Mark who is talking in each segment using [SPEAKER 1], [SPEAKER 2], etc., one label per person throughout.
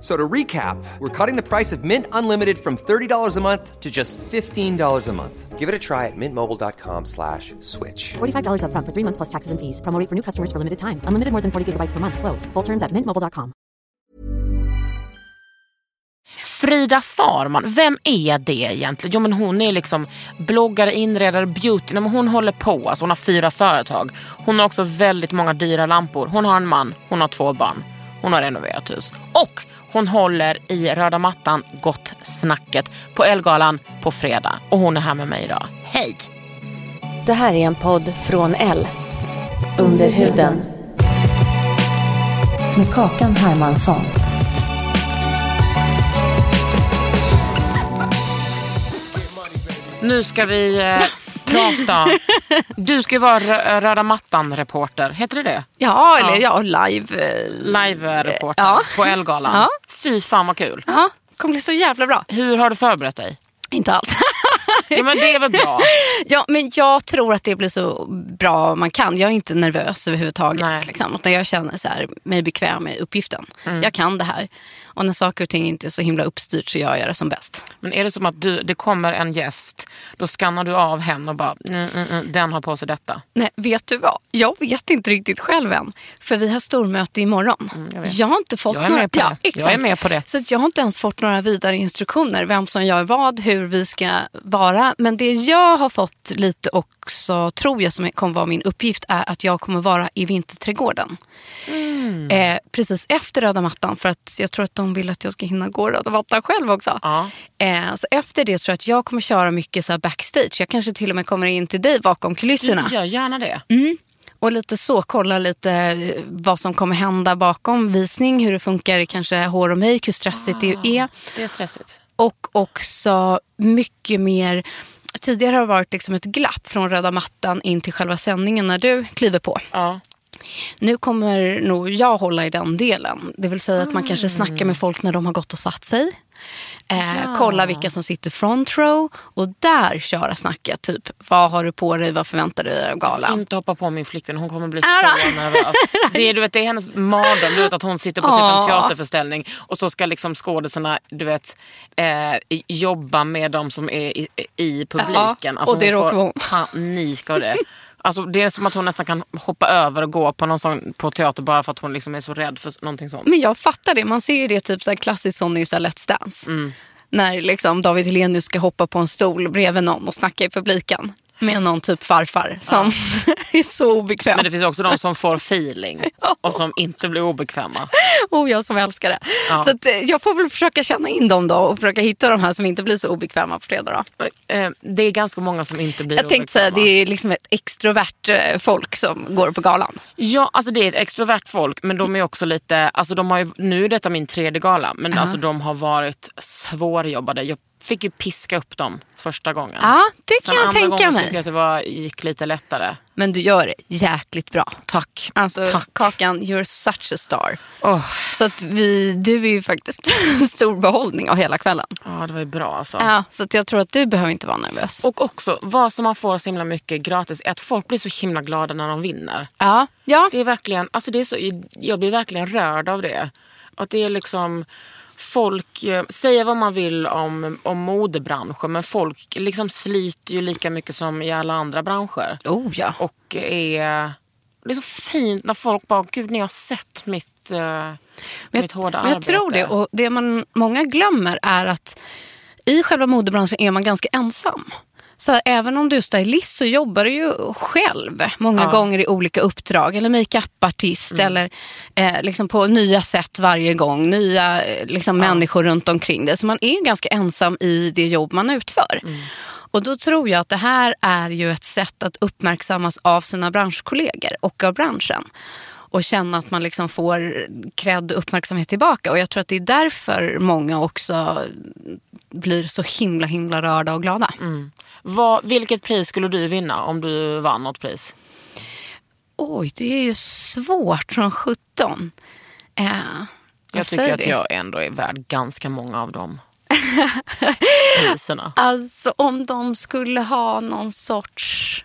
[SPEAKER 1] So to recap, we're cutting the price of Mint Unlimited from $30 a month to just $15 a month. Give it a try at mintmobile.com slash switch.
[SPEAKER 2] $45 upfront for three months plus taxes and fees. Promo rate for new customers for limited time. Unlimited more than 40 gigabytes per month. Slows. Full terms at mintmobile.com.
[SPEAKER 3] Frida Farman, vem är det egentligen? Jo men hon är liksom bloggare, inredare, beauty. Nej, men hon håller på, alltså, hon har fyra företag. Hon har också väldigt många dyra lampor. Hon har en man, hon har två barn. Hon har renoverat hus. Och hon håller i röda mattan Gott snacket på Elgalan på fredag. Och hon är här med mig idag. Hej!
[SPEAKER 4] Det här är en podd från L. Under huden. Med Kakan Hermansson.
[SPEAKER 3] Nu ska vi eh, prata. Du ska ju vara rö- röda mattan-reporter. Heter det det?
[SPEAKER 5] Ja, eller ja, live. eh,
[SPEAKER 3] Live-reporter
[SPEAKER 5] Ja.
[SPEAKER 3] på Elgalan.
[SPEAKER 5] Ja.
[SPEAKER 3] Fy fan vad kul.
[SPEAKER 5] Ja, kommer bli så jävla bra.
[SPEAKER 3] Hur har du förberett dig?
[SPEAKER 5] Inte alls.
[SPEAKER 3] Ja, men det är väl bra.
[SPEAKER 5] ja, men jag tror att det blir så bra man kan. Jag är inte nervös
[SPEAKER 3] Nej.
[SPEAKER 5] överhuvudtaget. Liksom, utan jag känner så här, mig bekväm med uppgiften. Jag kan det här. Och när saker och ting inte är så himla uppstyrt så gör jag det som bäst.
[SPEAKER 3] Men är det som att du, det kommer en gäst, då skannar du av henne och bara, mm, mm, mm, den har på sig detta.
[SPEAKER 5] Nej, vet du vad? Jag vet inte riktigt själv än. För vi har stormöte imorgon.
[SPEAKER 3] Mm, jag
[SPEAKER 5] jag,
[SPEAKER 3] vet.
[SPEAKER 5] har inte fått
[SPEAKER 3] Jag är
[SPEAKER 5] några...
[SPEAKER 3] med på det. Jag
[SPEAKER 5] exakt.
[SPEAKER 3] är med på det.
[SPEAKER 5] Så att jag har inte ens fått några vidare instruktioner. Vem som gör vad, hur vi ska vara. Men det jag har fått lite också, tror jag, som kommer vara min uppgift är att jag kommer vara i Vinterträdgården.
[SPEAKER 3] Mm.
[SPEAKER 5] Eh, precis efter röda mattan. För att jag tror att de vill att jag ska hinna gå röda mattan själv också.
[SPEAKER 3] Ja.
[SPEAKER 5] Eh, så efter det tror jag att jag kommer köra mycket så här backstage. Jag kanske till och med kommer in till dig bakom kulisserna.
[SPEAKER 3] Gör gärna det.
[SPEAKER 5] Och lite så, kolla lite eh, vad som kommer hända bakom visning, hur det funkar, kanske hår och make, hur stressigt det är.
[SPEAKER 3] Det är stressigt.
[SPEAKER 5] Och också mycket mer, tidigare har det varit liksom ett glapp från röda mattan in till själva sändningen när du kliver på.
[SPEAKER 3] Ja.
[SPEAKER 5] Nu kommer nog jag hålla i den delen. Det vill säga att man kanske snackar med folk när de har gått och satt sig. Eh, Kolla vilka som sitter front row och där köra snacket. Typ, vad har du på dig, vad förväntar du dig av galan?
[SPEAKER 3] Inte hoppa på min flickvän, hon kommer bli
[SPEAKER 5] Ära.
[SPEAKER 3] så nervös. Det är, du vet, det är hennes mardröm, du vet att hon sitter på typ en
[SPEAKER 5] Ja.
[SPEAKER 3] teaterföreställning och så ska liksom skådisarna, du vet, eh, jobba med de som är i, i publiken. Alltså,
[SPEAKER 5] Ja, och det
[SPEAKER 3] hon
[SPEAKER 5] råkar
[SPEAKER 3] får
[SPEAKER 5] hon.
[SPEAKER 3] panik av det. Alltså, det är som att hon nästan kan hoppa över och gå på någon sån på teater bara för att hon liksom är så rädd för någonting sånt.
[SPEAKER 5] Men jag fattar det. Man ser ju det typ så här klassiskt som i så här Let's Dance.
[SPEAKER 3] Mm.
[SPEAKER 5] När liksom David Hellenius ska hoppa på en stol bredvid någon och snacka i publiken. Med någon typ farfar som är så obekväm.
[SPEAKER 3] Men det finns också de som får feeling och som inte blir obekväma.
[SPEAKER 5] Och Oh, jag som älskar det. Så att, eh, jag får väl försöka känna in dem då och försöka hitta de här som inte blir så obekväma på fredag. Då.
[SPEAKER 3] Eh, Det är ganska många som inte blir
[SPEAKER 5] Jag tänkte säga
[SPEAKER 3] obekväma.
[SPEAKER 5] det är liksom ett extrovert eh, folk som går på galan.
[SPEAKER 3] Ja, alltså det är ett extrovert folk men de är också lite, alltså de har ju, nu är detta min tredje gala men alltså de har varit svårjobbade. Jag fick ju piska upp dem första gången.
[SPEAKER 5] Ja, det
[SPEAKER 3] Sen
[SPEAKER 5] kan jag
[SPEAKER 3] andra
[SPEAKER 5] tänka
[SPEAKER 3] gången tycker jag
[SPEAKER 5] mig.
[SPEAKER 3] att det var, gick lite lättare.
[SPEAKER 5] Men du gör det jäkligt bra.
[SPEAKER 3] Tack.
[SPEAKER 5] Alltså,
[SPEAKER 3] Tack.
[SPEAKER 5] Kakan, you're such a star.
[SPEAKER 3] Åh,
[SPEAKER 5] Så att vi, du är ju faktiskt en stor behållning av hela kvällen.
[SPEAKER 3] ja, det var ju bra alltså.
[SPEAKER 5] Ja, så att jag tror att du behöver inte vara nervös.
[SPEAKER 3] Och också, vad som man får så himla mycket gratis är att folk blir så himla glada när de vinner.
[SPEAKER 5] Ja, ja.
[SPEAKER 3] Det är verkligen, alltså det är så, jag blir verkligen rörd av det. Att det är liksom folk, eh, säga vad man vill om, om modebranschen men folk liksom sliter ju lika mycket som i alla andra branscher.
[SPEAKER 5] Oh ja.
[SPEAKER 3] Och är, det är så fint när folk bara, gud ni har sett mitt, eh,
[SPEAKER 5] Men
[SPEAKER 3] mitt hårda
[SPEAKER 5] men jag
[SPEAKER 3] arbete.
[SPEAKER 5] tror det. Och det man många glömmer är att i själva modebranschen är man ganska ensam. Så här, även om du är stylist så jobbar du ju själv många
[SPEAKER 3] Ja. Mm.
[SPEAKER 5] gånger i olika uppdrag. Eller makeup-artist eller eh, liksom på nya sätt varje gång. Nya eh, liksom, människor runt omkring dig. Så man är ju ganska ensam i det jobb man utför.
[SPEAKER 3] Mm.
[SPEAKER 5] Och då tror jag att det här är ju ett sätt att uppmärksammas av sina branschkollegor och av branschen och känna att man liksom får cred och uppmärksamhet tillbaka. Och Jag tror att det är därför många också blir så himla himla rörda och glada.
[SPEAKER 3] Mm. Vad, vilket pris skulle du vinna om du vann något pris?
[SPEAKER 5] Oj, det är ju svårt som sjutton. Eh,
[SPEAKER 3] Jag
[SPEAKER 5] vad
[SPEAKER 3] tycker
[SPEAKER 5] säger
[SPEAKER 3] att
[SPEAKER 5] vi?
[SPEAKER 3] jag ändå är värd ganska många av de priserna.
[SPEAKER 5] Alltså om de skulle ha någon sorts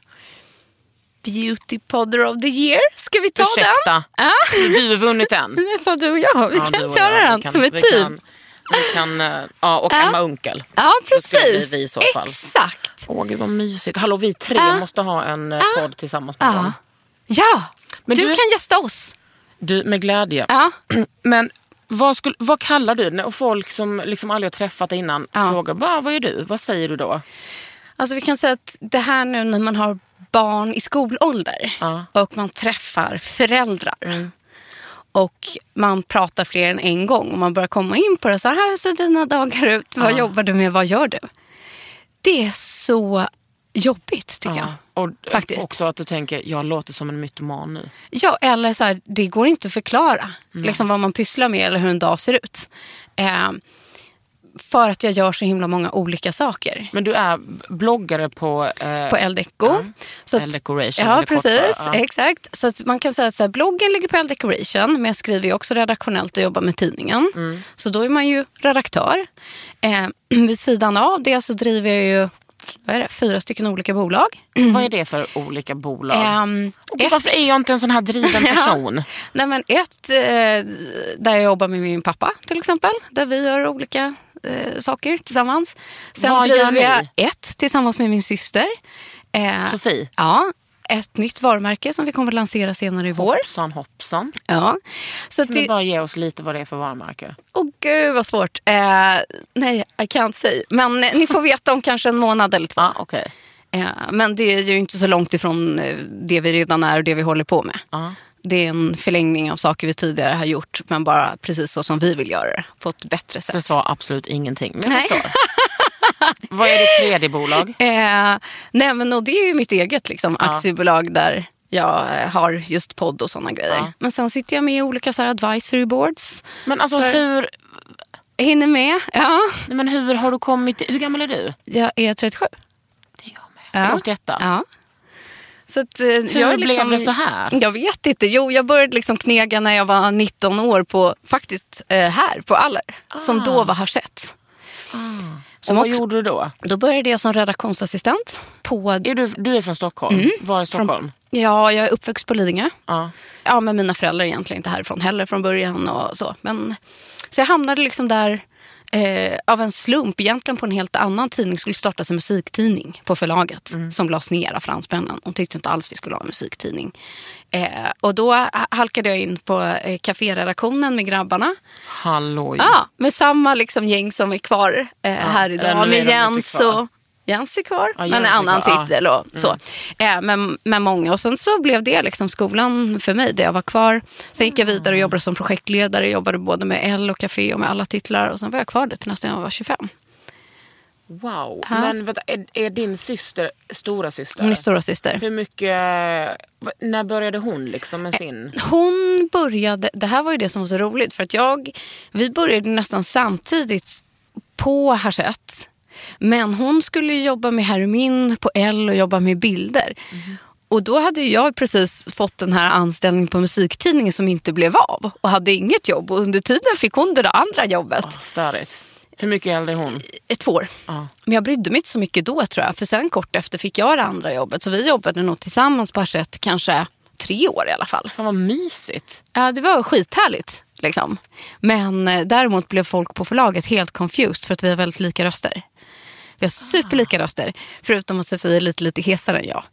[SPEAKER 5] Beauty Podder of the year. Ska vi ta den?
[SPEAKER 3] Ursäkta,
[SPEAKER 5] Ja,
[SPEAKER 3] du har vunnit en.
[SPEAKER 5] det sa du och jag. Vi
[SPEAKER 3] Ja, du
[SPEAKER 5] kan
[SPEAKER 3] och
[SPEAKER 5] göra
[SPEAKER 3] jag. Vi
[SPEAKER 5] den
[SPEAKER 3] kan-
[SPEAKER 5] som ett
[SPEAKER 3] vi
[SPEAKER 5] team.
[SPEAKER 3] kan- Vi kan, eh, ja, och Emma Unkel.
[SPEAKER 5] Ja,
[SPEAKER 3] Då skulle det
[SPEAKER 5] precis.
[SPEAKER 3] bli vi i så fall.
[SPEAKER 5] Exakt.
[SPEAKER 3] Åh gud vad mysigt. Hallå vi tre
[SPEAKER 5] Ja.
[SPEAKER 3] måste ha en uh, podd tillsammans med
[SPEAKER 5] Ja.
[SPEAKER 3] dem.
[SPEAKER 5] ja.
[SPEAKER 3] Men
[SPEAKER 5] du,
[SPEAKER 3] du-
[SPEAKER 5] kan gästa oss.
[SPEAKER 3] Du, med glädje.
[SPEAKER 5] Ja.
[SPEAKER 3] Men vad, skulle, vad kallar du när folk som liksom aldrig har träffat dig innan
[SPEAKER 5] Ja.
[SPEAKER 3] frågar bara, vad är du? Vad säger du då?
[SPEAKER 5] Alltså vi kan säga att det här nu när man har barn i skolålder
[SPEAKER 3] Ja. Mm.
[SPEAKER 5] och man träffar föräldrar och man pratar fler än en gång och man börjar komma in på det. Så här hur ser dina dagar ut? Vad jobbar du med? Vad gör du? Det är så jobbigt tycker jag.
[SPEAKER 3] Och eh,
[SPEAKER 5] Faktiskt.
[SPEAKER 3] också att du tänker, jag låter som en mytoman nu.
[SPEAKER 5] Ja, eller så här, det går inte att förklara liksom vad man pysslar med eller hur en dag ser ut. Eh, för att jag gör så himla många olika saker.
[SPEAKER 3] Men du är bloggare på... Eh,
[SPEAKER 5] På Eldeco. Så
[SPEAKER 3] Elle Decoration,
[SPEAKER 5] Ja,
[SPEAKER 3] eller kort
[SPEAKER 5] precis.
[SPEAKER 3] för, ja.
[SPEAKER 5] Exakt. Så att man kan säga att så här, bloggen ligger på Eldecoration, men jag skriver ju också redaktionellt och jobbar med tidningen.
[SPEAKER 3] Mm.
[SPEAKER 5] Så då är man ju redaktör. Eh, vid sidan av det så driver jag ju vad är det, fyra stycken olika bolag.
[SPEAKER 3] Vad är det för olika bolag?
[SPEAKER 5] Ehm,
[SPEAKER 3] och gud, varför är jag inte en sån här driven person?
[SPEAKER 5] Nej, men ett eh, där jag jobbar med min pappa till exempel. Där vi gör olika eh, saker tillsammans. Sen
[SPEAKER 3] Vad gör
[SPEAKER 5] driver jag
[SPEAKER 3] ni?
[SPEAKER 5] ett tillsammans med min syster. Eh,
[SPEAKER 3] Sofie?
[SPEAKER 5] ja, ett nytt varumärke som vi kommer att lansera senare i vår.
[SPEAKER 3] Hoppsan hoppsan.
[SPEAKER 5] Ja. Så att
[SPEAKER 3] Kan du
[SPEAKER 5] det,
[SPEAKER 3] bara ge oss lite vad det är för varumärke?
[SPEAKER 5] Åh gud vad svårt. Eh, nej, I can't say. Men eh, ni får veta om kanske en månad eller två.
[SPEAKER 3] Ja, okej.
[SPEAKER 5] Eh, men det är ju inte så långt ifrån eh, det vi redan är och det vi håller på med.
[SPEAKER 3] Ja.
[SPEAKER 5] Det är en förlängning av saker vi tidigare har gjort, men bara precis så som vi vill göra det, på ett bättre
[SPEAKER 3] Det
[SPEAKER 5] sätt.
[SPEAKER 3] sa absolut ingenting, men jag
[SPEAKER 5] Nej.
[SPEAKER 3] förstår. Vad är ditt tredje bolag?
[SPEAKER 5] Eh, nej, men och det är ju mitt eget liksom, aktiebolag där jag eh, har just podd och sådana grejer.
[SPEAKER 3] Ja.
[SPEAKER 5] Men sen sitter jag med i olika så här, advisory boards.
[SPEAKER 3] Men alltså hur,
[SPEAKER 5] Hinner med. Ja.
[SPEAKER 3] nej, men hur har du kommit, hur gammal är du?
[SPEAKER 5] Jag är 37.
[SPEAKER 3] Det är jag med.
[SPEAKER 5] Ja.
[SPEAKER 3] Förlåt detta.
[SPEAKER 5] Ja. Så att, eh, jag är
[SPEAKER 3] blev
[SPEAKER 5] liksom,
[SPEAKER 3] det så här?
[SPEAKER 5] Jag vet inte. Jo, jag började liksom knega när jag var 19 år på, faktiskt eh, här på Aller, som då var Harsett.
[SPEAKER 3] Ah. Och
[SPEAKER 5] Som
[SPEAKER 3] vad
[SPEAKER 5] också,
[SPEAKER 3] gjorde du då?
[SPEAKER 5] Då började jag som redaktionsassistent. På,
[SPEAKER 3] Är du, du är från Stockholm.
[SPEAKER 5] Mm.
[SPEAKER 3] Var i Stockholm?
[SPEAKER 5] ja, jag är uppväxt på Lidingö.
[SPEAKER 3] Ja.
[SPEAKER 5] Ja, men mina föräldrar är egentligen inte härifrån heller från början. och Så men, så jag hamnade liksom där eh, av en slump, egentligen på en helt annan tidning. skulle startas en musiktidning på förlaget som lades ner av fransmännen. De tyckte inte alls vi skulle ha en musiktidning. Eh, och då ha- halkade jag in på eh, kaféredaktionen med grabbarna.
[SPEAKER 3] Halloj.
[SPEAKER 5] Ja, med samma liksom gäng som är kvar eh,
[SPEAKER 3] eller
[SPEAKER 5] här
[SPEAKER 3] nu
[SPEAKER 5] idag.
[SPEAKER 3] är de
[SPEAKER 5] Med
[SPEAKER 3] inte
[SPEAKER 5] Jens
[SPEAKER 3] kvar.
[SPEAKER 5] och... Jens är kvar,
[SPEAKER 3] Ja,
[SPEAKER 5] men
[SPEAKER 3] Jens
[SPEAKER 5] en
[SPEAKER 3] är
[SPEAKER 5] annan
[SPEAKER 3] kvar, ja. Mm.
[SPEAKER 5] titel och så. Eh, men, men många. Och sen så blev det liksom skolan för mig, där jag var kvar. Sen gick jag
[SPEAKER 3] Mm.
[SPEAKER 5] vidare och jobbade som projektledare. Jobbade både med L och Café och med alla titlar. Och sen var jag kvar där till nästan jag var 25.
[SPEAKER 3] Wow. Men vänta, är, är din syster stora syster?
[SPEAKER 5] Hon är stora syster.
[SPEAKER 3] Hur mycket, va- när började hon liksom
[SPEAKER 5] Eh,
[SPEAKER 3] med sin?
[SPEAKER 5] Hon började, det här var ju det som var så roligt för att jag, vi började nästan samtidigt på Harsett. Men hon skulle ju jobba med Hermin på L och jobba med bilder. Och då hade ju jag precis fått den här anställningen på musiktidningen som inte blev av och hade inget jobb. Och under tiden fick hon det där andra jobbet,
[SPEAKER 3] Ah, Störigt. Hur mycket äldre är hon?
[SPEAKER 5] ett två år.
[SPEAKER 3] Ja.
[SPEAKER 5] Men jag brydde mig inte så mycket då tror jag. För sen kort efter fick jag det andra jobbet. Så vi jobbade nog tillsammans på Harsett kanske tre år i alla fall.
[SPEAKER 3] Fan vad mysigt.
[SPEAKER 5] Ja, det var skithärligt. Liksom. Men eh, däremot blev folk på förlaget helt confused för att vi har väldigt lika röster. Vi har
[SPEAKER 3] Ah.
[SPEAKER 5] superlika röster, förutom att Sofie är lite, lite hesare än jag.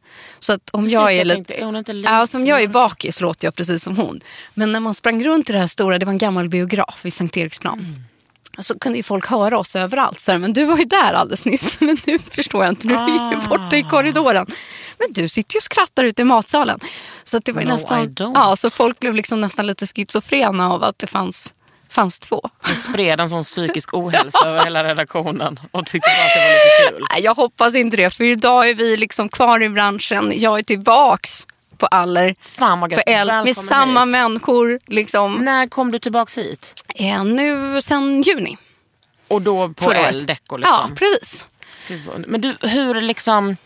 [SPEAKER 5] Så att om jag
[SPEAKER 3] Precis,
[SPEAKER 5] är lite...
[SPEAKER 3] tänkte, är hon inte lite...
[SPEAKER 5] Ja, som jag är bakis låter jag precis som hon. Men när man sprang runt i det här stora, det var en gammal biograf vid Sankt Eriksplan. så kunde ju folk höra oss överallt. Så här, men du var ju där alldeles nyss, men nu förstår jag inte. Nu är
[SPEAKER 3] Ah.
[SPEAKER 5] ju borta i korridoren. Men du sitter ju och skrattar ute i matsalen. Så att det var ju
[SPEAKER 3] No, I
[SPEAKER 5] nästan...
[SPEAKER 3] don't.
[SPEAKER 5] Ja, så folk blev liksom nästan lite schizofrena av att det fanns, fanns två.
[SPEAKER 3] Det spred en sån psykisk ohälsa över hela redaktionen och tyckte bara att det var lite kul.
[SPEAKER 5] Nej, jag hoppas inte det, för idag är vi liksom kvar i branschen. Jag är tillbaks på Aller,
[SPEAKER 3] Fan vad
[SPEAKER 5] på
[SPEAKER 3] gött.
[SPEAKER 5] L,
[SPEAKER 3] Välkommen
[SPEAKER 5] med samma
[SPEAKER 3] hit.
[SPEAKER 5] människor. Liksom.
[SPEAKER 3] När kom du tillbaks hit?
[SPEAKER 5] Eh, nu sen juni.
[SPEAKER 3] Och då på
[SPEAKER 5] förra året.
[SPEAKER 3] El Deco
[SPEAKER 5] Ja,
[SPEAKER 3] liksom?
[SPEAKER 5] precis.
[SPEAKER 3] Gud, vad- Men du, hur liksom...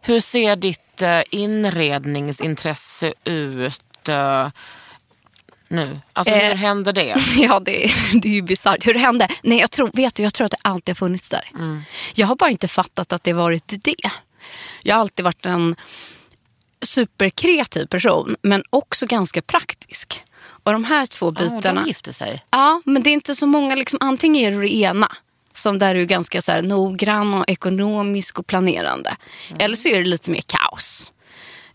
[SPEAKER 3] Hur ser ditt eh, inredningsintresse ut eh, nu? Alltså hur
[SPEAKER 5] Eh.
[SPEAKER 3] händer det?
[SPEAKER 5] Ja, det, är- det är ju bisarrt. Hur det hände? Nej, jag tror, vet du, jag tror att det alltid har funnits där.
[SPEAKER 3] Mm.
[SPEAKER 5] Jag har bara inte fattat att det varit det. Jag har alltid varit en superkreativ person, men också ganska praktisk. Och de här två
[SPEAKER 3] Ja,
[SPEAKER 5] bitarna...
[SPEAKER 3] de gifte sig.
[SPEAKER 5] Ja, men det är inte så många. Liksom, antingen är du det ena, som där du är ganska så här, noggrann och ekonomisk och planerande.
[SPEAKER 3] Mm.
[SPEAKER 5] Eller så är det lite mer kaos.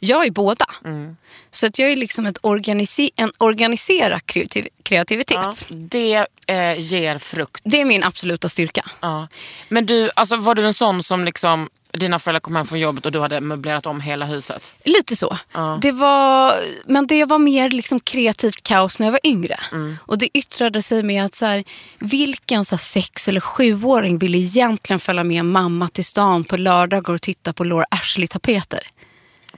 [SPEAKER 5] Jag är båda.
[SPEAKER 3] Mm.
[SPEAKER 5] Så att jag är liksom ett organise- en organiserad kreativ- kreativitet.
[SPEAKER 3] Ja, det eh, ger frukt.
[SPEAKER 5] Det är min absoluta styrka.
[SPEAKER 3] Ja. Men du, alltså, var du en sån som liksom, dina föräldrar kom hem från jobbet och du hade möblerat om hela huset?
[SPEAKER 5] Lite så. Det var, men det var mer liksom kreativt kaos när jag var yngre.
[SPEAKER 3] Mm.
[SPEAKER 5] Och Det yttrade sig med att så här, vilken så här, sex eller sjuåring ville egentligen följa med mamma till stan på lördagar och titta på Laura Ashley-tapeter?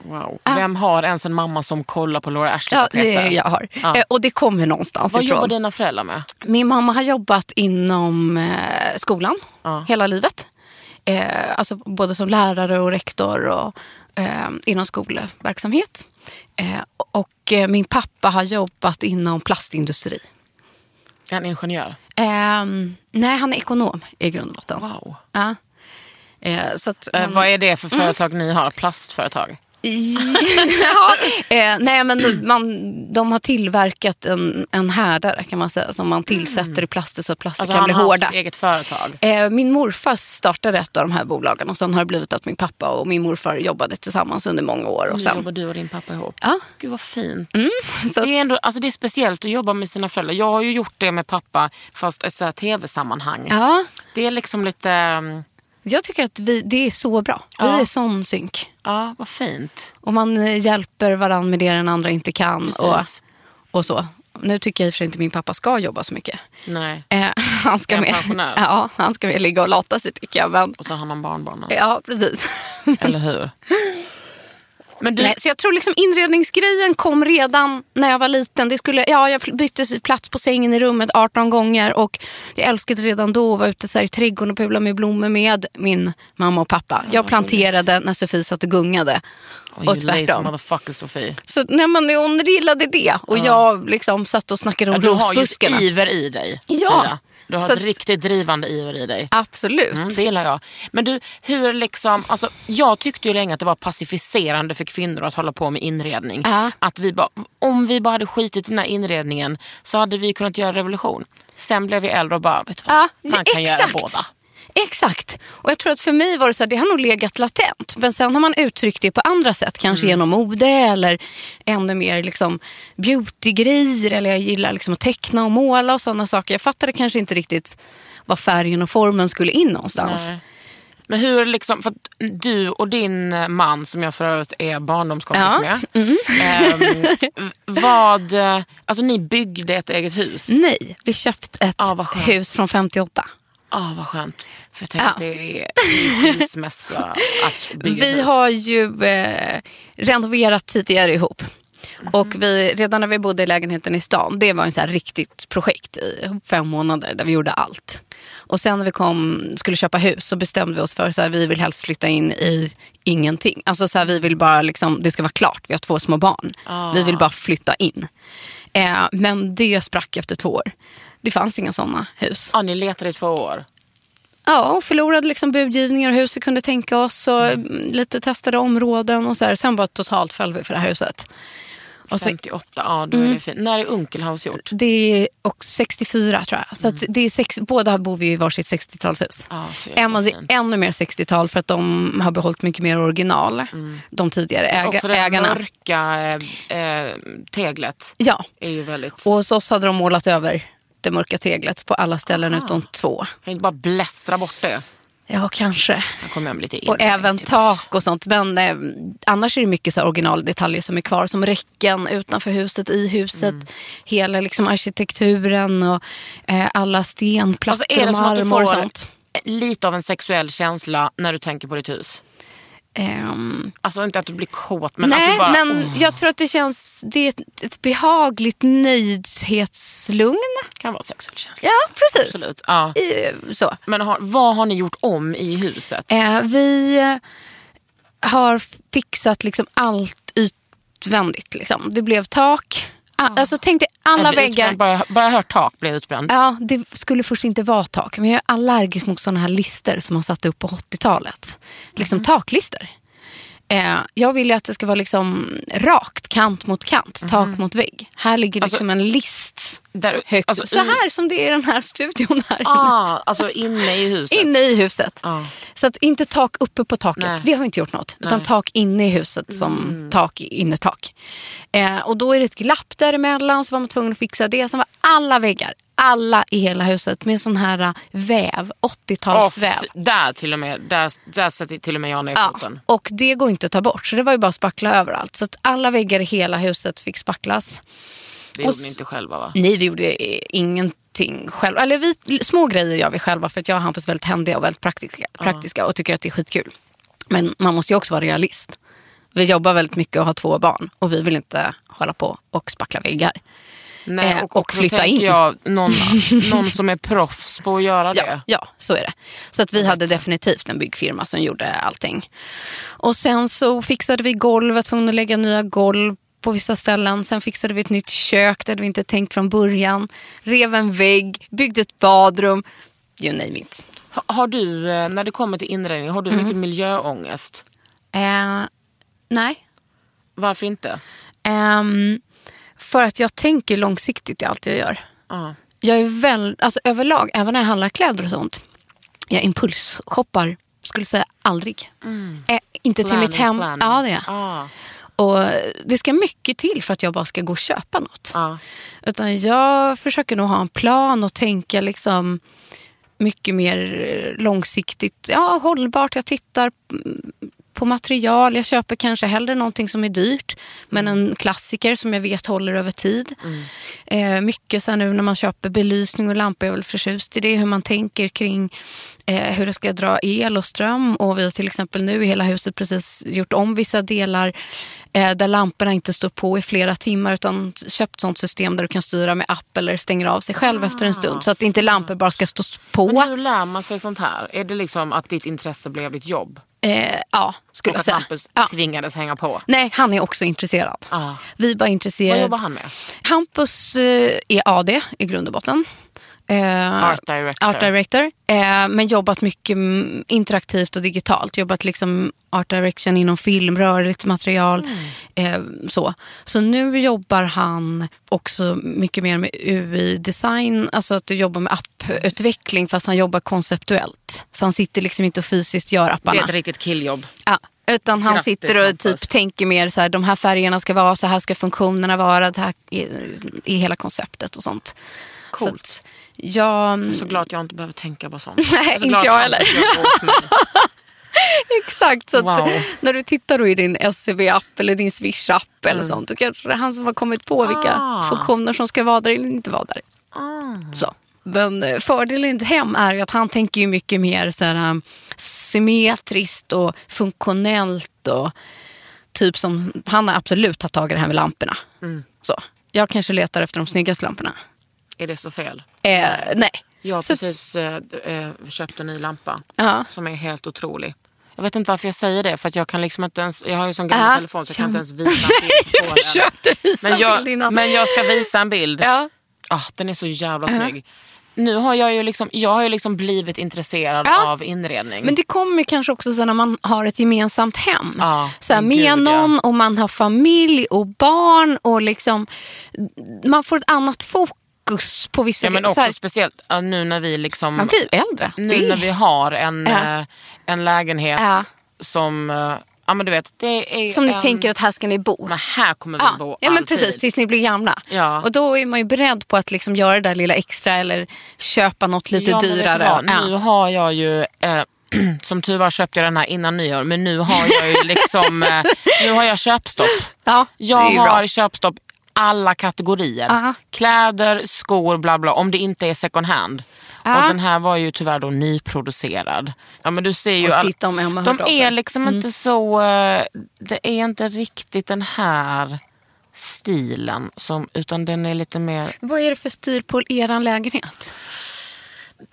[SPEAKER 3] Wow. Vem har ens en mamma som kollar på Laura
[SPEAKER 5] Ja,
[SPEAKER 3] Ashley-tapeter?
[SPEAKER 5] det är jag har.
[SPEAKER 3] Ja.
[SPEAKER 5] Eh, Och det kommer någonstans
[SPEAKER 3] Vad
[SPEAKER 5] ifrån.
[SPEAKER 3] jobbar dina föräldrar med?
[SPEAKER 5] Min mamma har jobbat inom eh, skolan
[SPEAKER 3] Ja.
[SPEAKER 5] hela livet. Eh, alltså både som lärare och rektor och eh, inom skolverksamhet. Eh, och eh, min pappa har jobbat inom plastindustri.
[SPEAKER 3] En ingenjör?
[SPEAKER 5] Eh, nej, han är ekonom i grund och botten.
[SPEAKER 3] Wow.
[SPEAKER 5] Ja. Eh, så att,
[SPEAKER 3] Eh, vad är det för företag ni har? Plastföretag?
[SPEAKER 5] ja, eh, nej, men man, de har tillverkat en, en härdare kan man säga som man tillsätter i plaster så att plaster
[SPEAKER 3] Alltså,
[SPEAKER 5] kan
[SPEAKER 3] han
[SPEAKER 5] bli
[SPEAKER 3] har
[SPEAKER 5] hårda.
[SPEAKER 3] haft eget företag?
[SPEAKER 5] Eh, Min morfar startade ett av de här bolagen och sen har det blivit att min pappa och min morfar jobbade tillsammans under många år. Och
[SPEAKER 3] Nu
[SPEAKER 5] sen,
[SPEAKER 3] Mm, jobbar du och din pappa ihop.
[SPEAKER 5] Ja. Mm,
[SPEAKER 3] Gud vad fint.
[SPEAKER 5] så att,
[SPEAKER 3] Det är, ändå, alltså det är speciellt att jobba med sina föräldrar. Jag har ju gjort det med pappa fast i så här tv-sammanhang.
[SPEAKER 5] ja,
[SPEAKER 3] Det är liksom lite... mm,
[SPEAKER 5] jag tycker att vi, det är så bra. Vi
[SPEAKER 3] Ja.
[SPEAKER 5] är sån synk.
[SPEAKER 3] Ja, vad fint.
[SPEAKER 5] Och man eh, hjälper varandra med det den andra inte kan. Och,
[SPEAKER 3] Precis.
[SPEAKER 5] och så. Nu tycker jag i och för sig inte min pappa ska jobba så mycket.
[SPEAKER 3] Nej.
[SPEAKER 5] Eh, han, ska
[SPEAKER 3] Är han
[SPEAKER 5] mer,
[SPEAKER 3] pensionär?
[SPEAKER 5] ja, han ska mer ligga och lata sig tycker jag. Men,
[SPEAKER 3] Och ta hand om barnbarnen.
[SPEAKER 5] ja, precis.
[SPEAKER 3] Eller hur? Men du,
[SPEAKER 5] Nej, så jag tror liksom inredningsgrejen kom redan när jag var liten. Det skulle, ja, jag bytte plats på sängen i rummet 18 gånger och jag älskade redan då att vara ute så här i trädgården och pula med blommor med min mamma och pappa. Jag planterade när Sofie satt och gungade.
[SPEAKER 3] oh,
[SPEAKER 5] och
[SPEAKER 3] you lazy
[SPEAKER 5] tvärtom.
[SPEAKER 3] motherfucker Sofie.
[SPEAKER 5] Så nej, men hon gillade det och jag liksom satt och snackade om
[SPEAKER 3] Ja, du har
[SPEAKER 5] rosbuskarna.
[SPEAKER 3] ju iver i dig.
[SPEAKER 5] Ja.
[SPEAKER 3] Frida. Du har
[SPEAKER 5] Så
[SPEAKER 3] ett
[SPEAKER 5] att-
[SPEAKER 3] riktigt drivande iver i dig.
[SPEAKER 5] Absolut.
[SPEAKER 3] Mm, det gillar jag. Men du, hur liksom, alltså, jag tyckte ju länge att det var pacificerande för kvinnor att hålla på med inredning.
[SPEAKER 5] Ja.
[SPEAKER 3] Att vi bara, om vi bara hade skitit i den här inredningen så hade vi kunnat göra revolution. Sen blev vi äldre och bara, vet du vad?
[SPEAKER 5] Ja,
[SPEAKER 3] man kan
[SPEAKER 5] exakt.
[SPEAKER 3] göra båda.
[SPEAKER 5] Exakt. Och jag tror att för mig var det så här, det har nog legat latent. Men sen har man uttryckt det på andra sätt.
[SPEAKER 3] Mm.
[SPEAKER 5] Kanske genom mode eller ännu mer liksom beautygrejer. Eller jag gillar liksom att teckna och måla och sådana saker. Jag fattade kanske inte riktigt vad färgen och formen skulle in någonstans.
[SPEAKER 3] Nej. Men hur liksom, för att du och din man som jag för övrigt är barndomskompis
[SPEAKER 5] Ja, Mm.
[SPEAKER 3] med. ehm, vad, alltså ni byggde ett eget hus.
[SPEAKER 5] Nej, vi köpte ett
[SPEAKER 3] Ja, Ah, vad skönt.
[SPEAKER 5] hus från 58.
[SPEAKER 3] Ah, vad skönt. För jag tänker
[SPEAKER 5] Ja.
[SPEAKER 3] att det är skilsmässa att bygga ett
[SPEAKER 5] Vi
[SPEAKER 3] hus.
[SPEAKER 5] har ju eh, renoverat tidigare ihop. Och vi, redan när vi bodde i lägenheten i stan, det var en så här riktigt projekt i fem månader där vi gjorde allt. Och sen när vi kom, skulle köpa hus så bestämde vi oss för att vi vill helst flytta in i ingenting. Alltså så här, vi vill bara liksom, det ska vara klart, vi har två små barn. Vi vill bara flytta in. Eh, men det sprack efter två år. Det fanns inga sådana hus.
[SPEAKER 3] Ja, ni letade i två år.
[SPEAKER 5] Ja, och förlorade liksom budgivningar och hus vi kunde tänka oss och mm, lite testade områden och så här. Sen bara totalt föll vi för det här huset. Och så, Mm.
[SPEAKER 3] 58, ja då är det fint. När är Unkelhaus gjort?
[SPEAKER 5] det är och 64 tror jag. Så att det är sex, båda bor vi i varsitt 60-talshus.
[SPEAKER 3] Mm. Ja, så jävla
[SPEAKER 5] Emma är
[SPEAKER 3] fint.
[SPEAKER 5] ännu mer 60-tal för att de har behållit mycket mer original. De tidigare äga,
[SPEAKER 3] Mm. Också det här
[SPEAKER 5] ägarna.
[SPEAKER 3] mörka eh, eh, teglet
[SPEAKER 5] Ja,
[SPEAKER 3] är ju väldigt...
[SPEAKER 5] och hos oss hade de målat över det mörka teglet på alla ställen utom två.
[SPEAKER 3] Kan inte bara blästra bort det?
[SPEAKER 5] Ja, kanske.
[SPEAKER 3] Här kommer jag med lite
[SPEAKER 5] Och även
[SPEAKER 3] inredningstips.
[SPEAKER 5] tak och sånt. Men eh, annars är det mycket så här originaldetaljer som är kvar. Som räcken utanför huset, i huset.
[SPEAKER 3] Mm.
[SPEAKER 5] Hela liksom arkitekturen och eh, alla stenplattor
[SPEAKER 3] Alltså, är det
[SPEAKER 5] och
[SPEAKER 3] som att du
[SPEAKER 5] marmor och
[SPEAKER 3] får-
[SPEAKER 5] sånt.
[SPEAKER 3] Lite av en sexuell känsla när du tänker på ditt hus.
[SPEAKER 5] Ehm,
[SPEAKER 3] Alltså inte att du blir kåt men att
[SPEAKER 5] nej,
[SPEAKER 3] du bara...
[SPEAKER 5] men
[SPEAKER 3] Åh,
[SPEAKER 5] jag tror att det känns... Det är ett, ett behagligt nöjdhetslugn.
[SPEAKER 3] kan vara sexuell känsla.
[SPEAKER 5] Ja, precis.
[SPEAKER 3] Absolut. Ja.
[SPEAKER 5] I, så.
[SPEAKER 3] Men har, vad har ni gjort om i huset?
[SPEAKER 5] Eh, vi har fixat liksom allt utvändigt. Liksom. Det blev tak. A- Alltså, tänk dig alla
[SPEAKER 3] Jag blir
[SPEAKER 5] väggar.
[SPEAKER 3] utbränd, Bara, bara jag hör tak blir jag utbränd.
[SPEAKER 5] Ja, det skulle först inte vara tak. Men jag är allergisk mot sådana här lister som man satte upp på 80-talet. Liksom
[SPEAKER 3] Mm.
[SPEAKER 5] taklister. Eh, jag vill ju att det ska vara liksom rakt, kant mot kant, tak mot vägg. Här ligger
[SPEAKER 3] Mm-hmm. Alltså-
[SPEAKER 5] liksom en list
[SPEAKER 3] Där,
[SPEAKER 5] högt
[SPEAKER 3] alltså,
[SPEAKER 5] upp. Så
[SPEAKER 3] i-
[SPEAKER 5] här som det är i den här studion här inne.
[SPEAKER 3] Ah, alltså inne i huset.
[SPEAKER 5] Inne i huset.
[SPEAKER 3] Ja.
[SPEAKER 5] Så att inte tak uppe på taket,
[SPEAKER 3] Nej.
[SPEAKER 5] det har vi inte gjort något. Utan
[SPEAKER 3] Nej. Mm.
[SPEAKER 5] tak inne i huset som tak, innertak. Eh, och då är det ett glapp däremellan så var man tvungen att fixa det. Sen var alla väggar, alla i hela huset med sån här eh, väv,
[SPEAKER 3] Åh,
[SPEAKER 5] 80-talsväv.
[SPEAKER 3] fy- där till och med, där, där sätter till och med jag ner
[SPEAKER 5] Ja,
[SPEAKER 3] foten.
[SPEAKER 5] och det går inte att ta bort, så det var ju bara att spackla överallt. Så att alla väggar i hela huset fick spacklas.
[SPEAKER 3] Det
[SPEAKER 5] Och
[SPEAKER 3] gjorde ni
[SPEAKER 5] s-
[SPEAKER 3] inte själva va?
[SPEAKER 5] Nej, vi gjorde eh, ingenting själva. Eller vi, små grejer gör vi själva för att jag och Hampus är väldigt händiga och väldigt praktiska, praktiska och tycker att det är skitkul. Men man måste ju också vara realist. Vi jobbar väldigt mycket och har två barn och vi vill inte hålla på och spackla väggar.
[SPEAKER 3] Nej,
[SPEAKER 5] Eh,
[SPEAKER 3] och, och,
[SPEAKER 5] och flytta
[SPEAKER 3] tänker
[SPEAKER 5] in.
[SPEAKER 3] Jag, någon, någon som är proffs på att göra
[SPEAKER 5] Ja,
[SPEAKER 3] det.
[SPEAKER 5] ja, så är det. Så att vi hade definitivt en byggfirma som gjorde allting. Och sen så fixade vi golv, var tvungna att lägga nya golv på vissa ställen. Sen fixade vi ett nytt kök, det hade vi inte tänkt från början. Rev en vägg, byggde ett badrum. You name it.
[SPEAKER 3] Ha- Har du, eh, när det kommer till inredning, har du
[SPEAKER 5] Mm.
[SPEAKER 3] mycket miljöångest?
[SPEAKER 5] Eh, nej.
[SPEAKER 3] Varför inte?
[SPEAKER 5] Ehm, för att jag tänker långsiktigt i allt jag gör.
[SPEAKER 3] Ja.
[SPEAKER 5] Jag är väl, alltså överlag, även när jag handlar kläder och sånt. Jag impulsshoppar, skulle säga aldrig. Eh, inte till mitt hem.
[SPEAKER 3] Mm. Planning, Ah,
[SPEAKER 5] Ja, det är jag.
[SPEAKER 3] Ja,
[SPEAKER 5] Och det ska mycket till för att jag bara ska gå och köpa något.
[SPEAKER 3] ja.
[SPEAKER 5] Utan jag försöker nog ha en plan och tänka liksom mycket mer eh, långsiktigt. Ja, hållbart. Jag tittar mm, på material. Jag köper kanske hellre någonting som är dyrt men en klassiker som jag vet håller över tid.
[SPEAKER 3] Mm.
[SPEAKER 5] Eh, mycket så här nu när man köper belysning och lampor. Jag är väl förtjust i det. Hur man tänker kring eh, hur det ska dra el och ström. Och vi har till exempel nu i hela huset precis gjort om vissa delar eh, där lamporna inte står på i flera timmar utan köpt sånt system där du kan styra med app eller stänger av sig själv efter en stund. Så att inte lampor bara ska stå på.
[SPEAKER 3] Ah, Men hur lär man sig sånt här? Är det liksom att ditt intresse blev ditt jobb?
[SPEAKER 5] Eh, ja, skulle
[SPEAKER 3] och
[SPEAKER 5] jag
[SPEAKER 3] att
[SPEAKER 5] säga.
[SPEAKER 3] Hampus
[SPEAKER 5] Ja.
[SPEAKER 3] tvingades hänga på?
[SPEAKER 5] Nej, han är också intresserad.
[SPEAKER 3] Ja.
[SPEAKER 5] Vi är bara
[SPEAKER 3] Vad
[SPEAKER 5] intresserade.
[SPEAKER 3] jobbar han med?
[SPEAKER 5] Hampus eh, är AD i grund och botten. Eh,
[SPEAKER 3] Art director.
[SPEAKER 5] Art director. Eh, men jobbat mycket mm, interaktivt och digitalt. Jobbat liksom art direction inom film, rörligt material.
[SPEAKER 3] Mm.
[SPEAKER 5] Eh, så. så nu jobbar han också mycket mer med UI-design. Alltså att du jobbar med apputveckling fast han jobbar konceptuellt. Så han sitter liksom inte och fysiskt gör
[SPEAKER 3] Det
[SPEAKER 5] apparna.
[SPEAKER 3] är ett riktigt killjobb.
[SPEAKER 5] Ja, utan han
[SPEAKER 3] Grattis,
[SPEAKER 5] sitter och
[SPEAKER 3] Hampus.
[SPEAKER 5] typ tänker mer så här, de här färgerna ska vara, så här ska funktionerna vara, det här är, är hela konceptet och sånt.
[SPEAKER 3] Coolt.
[SPEAKER 5] Så att jag, mm,
[SPEAKER 3] Så glad att jag inte behöver tänka på sånt.
[SPEAKER 5] Nej,
[SPEAKER 3] är så
[SPEAKER 5] inte
[SPEAKER 3] glad
[SPEAKER 5] jag
[SPEAKER 3] att
[SPEAKER 5] heller.
[SPEAKER 3] Hampus jobbar åt mig.
[SPEAKER 5] exakt, så att
[SPEAKER 3] Wow.
[SPEAKER 5] när du tittar då i din SCB-app eller din Swish-app eller sånt, då kanske det är han som har kommit på vilka
[SPEAKER 3] Ah.
[SPEAKER 5] funktioner som ska vara där eller inte vara där. Så. Men eh, fördelen i hem är ju att han tänker ju mycket mer så här, um, symmetriskt och funktionellt. Och typ som, han har absolut tagit tag i det här med lamporna.
[SPEAKER 3] Mm.
[SPEAKER 5] Så. Jag kanske letar efter de snyggaste lamporna.
[SPEAKER 3] Är det så fel?
[SPEAKER 5] Eh, nej.
[SPEAKER 3] Jag har
[SPEAKER 5] Så att-
[SPEAKER 3] precis eh, d- eh, köpt en ny lampa
[SPEAKER 5] Ja.
[SPEAKER 3] som är helt otrolig. Jag vet inte varför jag säger det, för att jag kan liksom inte ens... Jag har ju sån gammal
[SPEAKER 5] Ja.
[SPEAKER 3] telefon så jag kan
[SPEAKER 5] Ah, Ja,
[SPEAKER 3] inte ens visa en
[SPEAKER 5] Nej,
[SPEAKER 3] bild på
[SPEAKER 5] du
[SPEAKER 3] den.
[SPEAKER 5] försökte visa
[SPEAKER 3] Men jag,
[SPEAKER 5] bild innan.
[SPEAKER 3] men jag ska visa en bild.
[SPEAKER 5] Ja.
[SPEAKER 3] Ah, den är så jävla snygg. Nu har jag ju liksom, jag har ju liksom blivit intresserad
[SPEAKER 5] Ja.
[SPEAKER 3] av inredning.
[SPEAKER 5] Men det kommer ju kanske också så när man har ett gemensamt hem.
[SPEAKER 3] Ja,
[SPEAKER 5] så här,
[SPEAKER 3] men
[SPEAKER 5] med
[SPEAKER 3] gud, ja.
[SPEAKER 5] någon och man har familj och barn och liksom, man får ett annat fokus på vissa
[SPEAKER 3] ja, men
[SPEAKER 5] grejer.
[SPEAKER 3] också
[SPEAKER 5] så här,
[SPEAKER 3] speciellt ah, nu när vi liksom...
[SPEAKER 5] man blir ju äldre.
[SPEAKER 3] Nu
[SPEAKER 5] Det är-
[SPEAKER 3] när vi har en,
[SPEAKER 5] Ja.
[SPEAKER 3] eh, en lägenhet
[SPEAKER 5] Ja.
[SPEAKER 3] som eh, ja, men du vet, det är
[SPEAKER 5] Som ni
[SPEAKER 3] en-
[SPEAKER 5] tänker att här ska ni bo.
[SPEAKER 3] Men här kommer vi bo
[SPEAKER 5] Ja, ja men
[SPEAKER 3] alltid.
[SPEAKER 5] precis, tills ni blir gamla.
[SPEAKER 3] Ja.
[SPEAKER 5] Och då är man ju beredd på att liksom göra det där lilla extra eller köpa något lite
[SPEAKER 3] ja, men vet du
[SPEAKER 5] dyrare.
[SPEAKER 3] vad?
[SPEAKER 5] Ja.
[SPEAKER 3] Nu har jag ju, eh, som tur var köpte jag den här innan nyår, men nu har jag ju liksom, eh, nu har jag köpstopp.
[SPEAKER 5] Ja,
[SPEAKER 3] Jag
[SPEAKER 5] det är ju bra.
[SPEAKER 3] har köpstopp alla kategorier.
[SPEAKER 5] Aha.
[SPEAKER 3] Kläder, skor, bla bla. Om det inte är second hand. Och
[SPEAKER 5] Ja.
[SPEAKER 3] den här var ju tyvärr då nyproducerad. Ja, men du ser ju
[SPEAKER 5] Och
[SPEAKER 3] all-
[SPEAKER 5] titta om Emma
[SPEAKER 3] De
[SPEAKER 5] hörde av
[SPEAKER 3] är
[SPEAKER 5] sig. Mm.
[SPEAKER 3] liksom inte så... eh, Det är inte riktigt den här stilen. Som, utan den är lite mer...
[SPEAKER 5] Vad är det för stil på er lägenhet?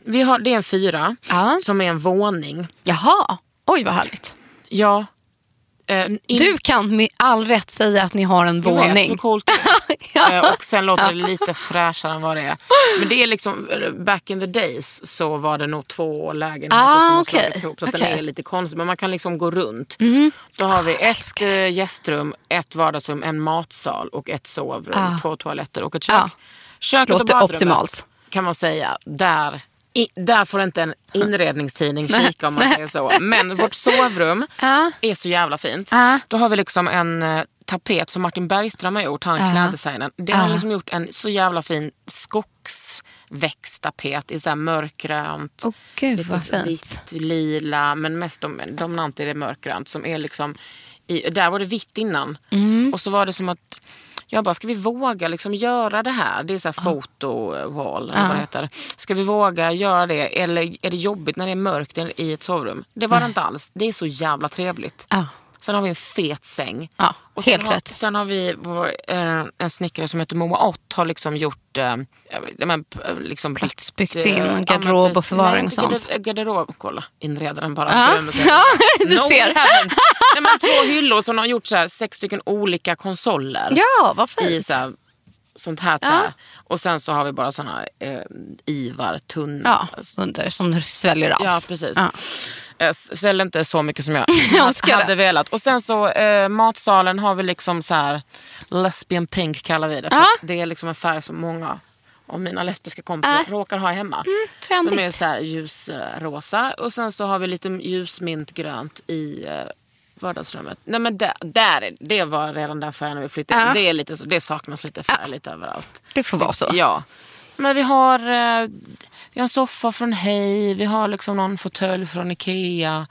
[SPEAKER 3] Vi har, det är en fyra
[SPEAKER 5] Ja.
[SPEAKER 3] som är en våning.
[SPEAKER 5] Jaha, oj vad härligt.
[SPEAKER 3] Ja. Eh, in-
[SPEAKER 5] Du kan med all rätt säga att ni har en
[SPEAKER 3] Jag Vet, hur
[SPEAKER 5] våning.
[SPEAKER 3] coolt det är.
[SPEAKER 5] Ja.
[SPEAKER 3] Eh, Och sen låter det lite fräschare än vad det är. Men det är liksom, eh, back in the days så var det nog två lägenheter
[SPEAKER 5] Ah,
[SPEAKER 3] som har
[SPEAKER 5] okej.
[SPEAKER 3] slagits ihop. Så att den
[SPEAKER 5] Okej. Mm. Ah,
[SPEAKER 3] är lite konstig. Men man kan liksom gå runt. Då har vi ett eh, gästrum, ett vardagsrum, en matsal och ett sovrum.
[SPEAKER 5] Ah.
[SPEAKER 3] Två toaletter och ett kök.
[SPEAKER 5] Ah.
[SPEAKER 3] Köket och
[SPEAKER 5] Låter
[SPEAKER 3] badrummet
[SPEAKER 5] optimalt.
[SPEAKER 3] kan man säga. Där, i, där får inte en inredningstidning kika om man säger så. Men vårt sovrum
[SPEAKER 5] Ja.
[SPEAKER 3] är så jävla fint.
[SPEAKER 5] Ja.
[SPEAKER 3] Då har vi liksom en eh, tapet som Martin Bergström har gjort, han
[SPEAKER 5] Ah.
[SPEAKER 3] kläddesignern. Det har liksom gjort en så jävla fin skogsväxttapet i så här mörkgrönt.
[SPEAKER 5] Åh, gud,
[SPEAKER 3] lite
[SPEAKER 5] vad fint.
[SPEAKER 3] Vitt, lila, men mest dom- dominant är det mörkgrönt. Som är liksom i, där var det vitt innan.
[SPEAKER 5] Mm.
[SPEAKER 3] Och så var det som att jag bara, ska vi våga liksom göra det här? Det är så här fotowall, eller vad det heter. Ska vi våga göra det? Eller är det jobbigt när det är mörkt i ett sovrum? Det var det inte alls. Det är så jävla trevligt.
[SPEAKER 5] Ja.
[SPEAKER 3] Sen har vi en fet säng.
[SPEAKER 5] Ja,
[SPEAKER 3] och
[SPEAKER 5] helt
[SPEAKER 3] sen har,
[SPEAKER 5] rätt.
[SPEAKER 3] Sen har vi vår, eh, en snickare som heter Moa Ott har liksom gjort eh, ja, men, p- liksom
[SPEAKER 5] Plats
[SPEAKER 3] byggt,
[SPEAKER 5] byggt in
[SPEAKER 3] eh,
[SPEAKER 5] garderob
[SPEAKER 3] ja, men precis.
[SPEAKER 5] och förvaring
[SPEAKER 3] Nej,
[SPEAKER 5] och sånt.
[SPEAKER 3] Garder, garderob, kolla inredaren bara.
[SPEAKER 5] Ja.
[SPEAKER 3] glömmer sig.
[SPEAKER 5] Ja, du
[SPEAKER 3] no
[SPEAKER 5] ser.
[SPEAKER 3] heavens. Nej, men två hyllor som de har gjort så här, sex stycken olika konsoler
[SPEAKER 5] Ja, vad
[SPEAKER 3] i
[SPEAKER 5] fint.
[SPEAKER 3] så här, sånt här trä.
[SPEAKER 5] Ja.
[SPEAKER 3] Och sen så har vi bara såna eh, ivar, tunna.
[SPEAKER 5] Ja, under, som sväljer allt.
[SPEAKER 3] Ja, precis.
[SPEAKER 5] Ja.
[SPEAKER 3] Jag säljer inte så mycket som jag
[SPEAKER 5] önskar
[SPEAKER 3] hade
[SPEAKER 5] det.
[SPEAKER 3] velat. Och sen så eh, matsalen har vi liksom så här lesbian pink kallar vi det. För
[SPEAKER 5] Ja.
[SPEAKER 3] att Det är liksom en färg som många av mina lesbiska kompisar råkar ha hemma. som är
[SPEAKER 5] Mm, trendigt.
[SPEAKER 3] så här ljusrosa. Och sen så har vi lite ljusmintgrönt i eh, vardagsrummet. Nej men där, där, är- det var redan den färgen när vi flyttade in.
[SPEAKER 5] Ja.
[SPEAKER 3] Det, är lite så, det saknas lite färg lite överallt.
[SPEAKER 5] Det får vara så.
[SPEAKER 3] Ja. Men vi har, eh, vi har en soffa från Hej, vi har liksom någon fåtölj från Ikea.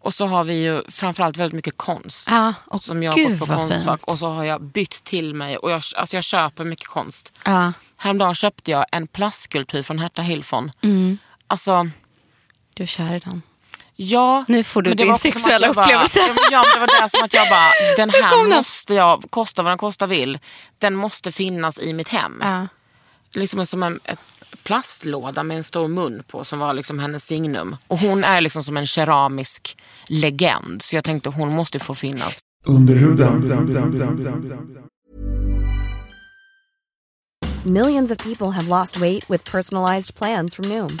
[SPEAKER 3] Och så har vi ju framförallt väldigt mycket konst.
[SPEAKER 5] Ja, och
[SPEAKER 3] som jag har
[SPEAKER 5] gud,
[SPEAKER 3] gått på
[SPEAKER 5] vad
[SPEAKER 3] Konstfack.
[SPEAKER 5] fint.
[SPEAKER 3] Och så har jag bytt till mig. Och jag, alltså jag köper mycket konst.
[SPEAKER 5] Ja.
[SPEAKER 3] Häromdagen köpte jag en plastskulptur från Herta Hillfon.
[SPEAKER 5] Mm.
[SPEAKER 3] Alltså,
[SPEAKER 5] Du är kär i den.
[SPEAKER 3] ja.
[SPEAKER 5] Nu får du
[SPEAKER 3] men det
[SPEAKER 5] din
[SPEAKER 3] var också som att
[SPEAKER 5] sexuella
[SPEAKER 3] jag bara-
[SPEAKER 5] upplevelse.
[SPEAKER 3] Ja, men ja, men det var där som att jag bara, den
[SPEAKER 5] Nu kom
[SPEAKER 3] här
[SPEAKER 5] den.
[SPEAKER 3] måste jag, kosta vad den kosta vill, den måste finnas i mitt hem
[SPEAKER 5] Ja.
[SPEAKER 3] liksom som en ett plastlåda med en stor mun på som var liksom hennes signum. Och hon är liksom som en keramisk legend så jag tänkte hon måste ju få finnas.
[SPEAKER 6] Millions of people have lost weight with personalized plans from Noom,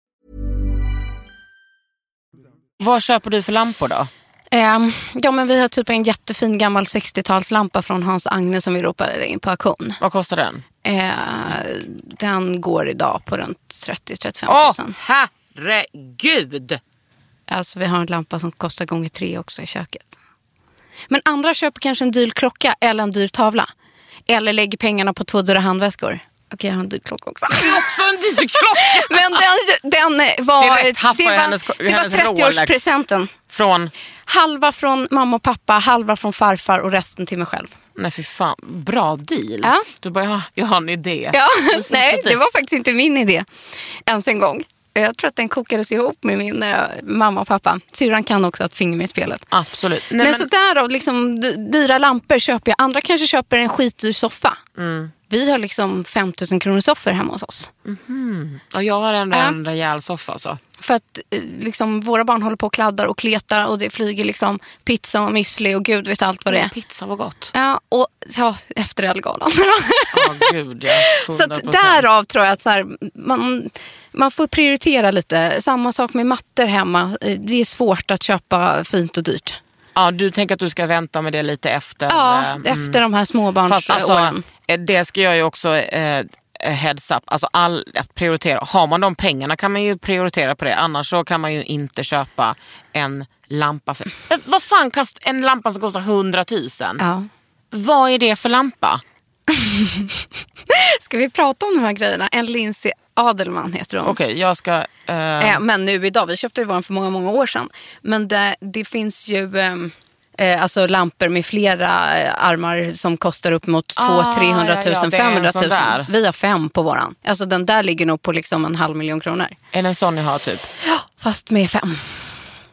[SPEAKER 3] Vad köper du för lampor då?
[SPEAKER 5] Ehm, ja, men vi har typ en jättefin gammal 60-talslampa från Hans Agne som vi ropade in på auktion.
[SPEAKER 3] Vad kostar den?
[SPEAKER 5] Ehm, den går idag på runt 30-35 000.
[SPEAKER 3] Åh herregud!
[SPEAKER 5] Alltså vi har en lampa som kostar gånger tre också i köket. Men andra köper kanske en dyr klocka eller en dyr tavla. Eller lägger pengarna på två dyra handväskor. Okej, jag har en dyr klocka också.
[SPEAKER 3] Det är också en dyr klocka!
[SPEAKER 5] Men den, den var,
[SPEAKER 3] Direkt haffar jag
[SPEAKER 5] var,
[SPEAKER 3] hennes-
[SPEAKER 5] det var
[SPEAKER 3] hennes Rolex.
[SPEAKER 5] 30-årspresenten.
[SPEAKER 3] Från,
[SPEAKER 5] Halva från mamma och pappa, halva från farfar och resten till mig själv.
[SPEAKER 3] Nej fy fan, bra deal.
[SPEAKER 5] Ja.
[SPEAKER 3] Du bara, ja, jag har en idé.
[SPEAKER 5] Ja,
[SPEAKER 3] Men så
[SPEAKER 5] nej, det
[SPEAKER 3] precis.
[SPEAKER 5] var faktiskt inte min idé ens en gång. Jag tror att den kokades ihop med min eh, mamma och pappa. Syrran kan också ha ett finger med i spelet.
[SPEAKER 3] Absolut. Nej,
[SPEAKER 5] men,
[SPEAKER 3] men,
[SPEAKER 5] så därav liksom, dy- dyra lampor köper jag. Andra kanske köper en skitdyr soffa.
[SPEAKER 3] Mm.
[SPEAKER 5] Vi har liksom 5000 kronor soffor hemma hos oss.
[SPEAKER 3] ja, jag har ändå
[SPEAKER 5] Ja.
[SPEAKER 3] en rejäl soffa alltså.
[SPEAKER 5] För att eh, liksom, våra barn håller på och kladdar och kletar och det flyger liksom pizza och müsli och gud vet allt vad det är.
[SPEAKER 3] Pizza var gott.
[SPEAKER 5] Ja, och ja, efter Ellegalan.
[SPEAKER 3] Ja, gud ja.
[SPEAKER 5] Så att
[SPEAKER 3] 100%.
[SPEAKER 5] därav tror jag att så här, man, man får prioritera lite. Samma sak med mattor hemma. Eh, Det är svårt att köpa fint och dyrt.
[SPEAKER 3] Ja, du tänker att du ska vänta med det lite efter.
[SPEAKER 5] Ja,
[SPEAKER 3] eh, mm.
[SPEAKER 5] efter de här
[SPEAKER 3] Fast alltså,
[SPEAKER 5] småbarnsåren.
[SPEAKER 3] eh, det ska jag ju också eh, eh, heads up. Alltså all, att prioritera. Har man de pengarna kan man ju prioritera på det. Annars så kan man ju inte köpa en lampa. För, Eh, vad fan kostar en lampa som kostar 100 000?
[SPEAKER 5] Ja.
[SPEAKER 3] Vad är det för lampa?
[SPEAKER 5] Ska vi prata om de här grejerna? En Lindsay Adelman heter hon.
[SPEAKER 3] Okej, jag ska... eh,
[SPEAKER 5] Eh, Men nu idag, vi köpte ju vår för många, många år sedan. Men det, det finns ju ehm, eh, alltså lampor med flera eh, armar som kostar upp mot 2
[SPEAKER 3] Ah,
[SPEAKER 5] 300
[SPEAKER 3] ja,
[SPEAKER 5] 000,
[SPEAKER 3] ja, det är en
[SPEAKER 5] 500
[SPEAKER 3] sån
[SPEAKER 5] 000.
[SPEAKER 3] där.
[SPEAKER 5] Vi har fem på våran. Alltså den där ligger nog på liksom en halv miljon kronor.
[SPEAKER 3] Är det en sån ni har typ?
[SPEAKER 5] Fast med fem.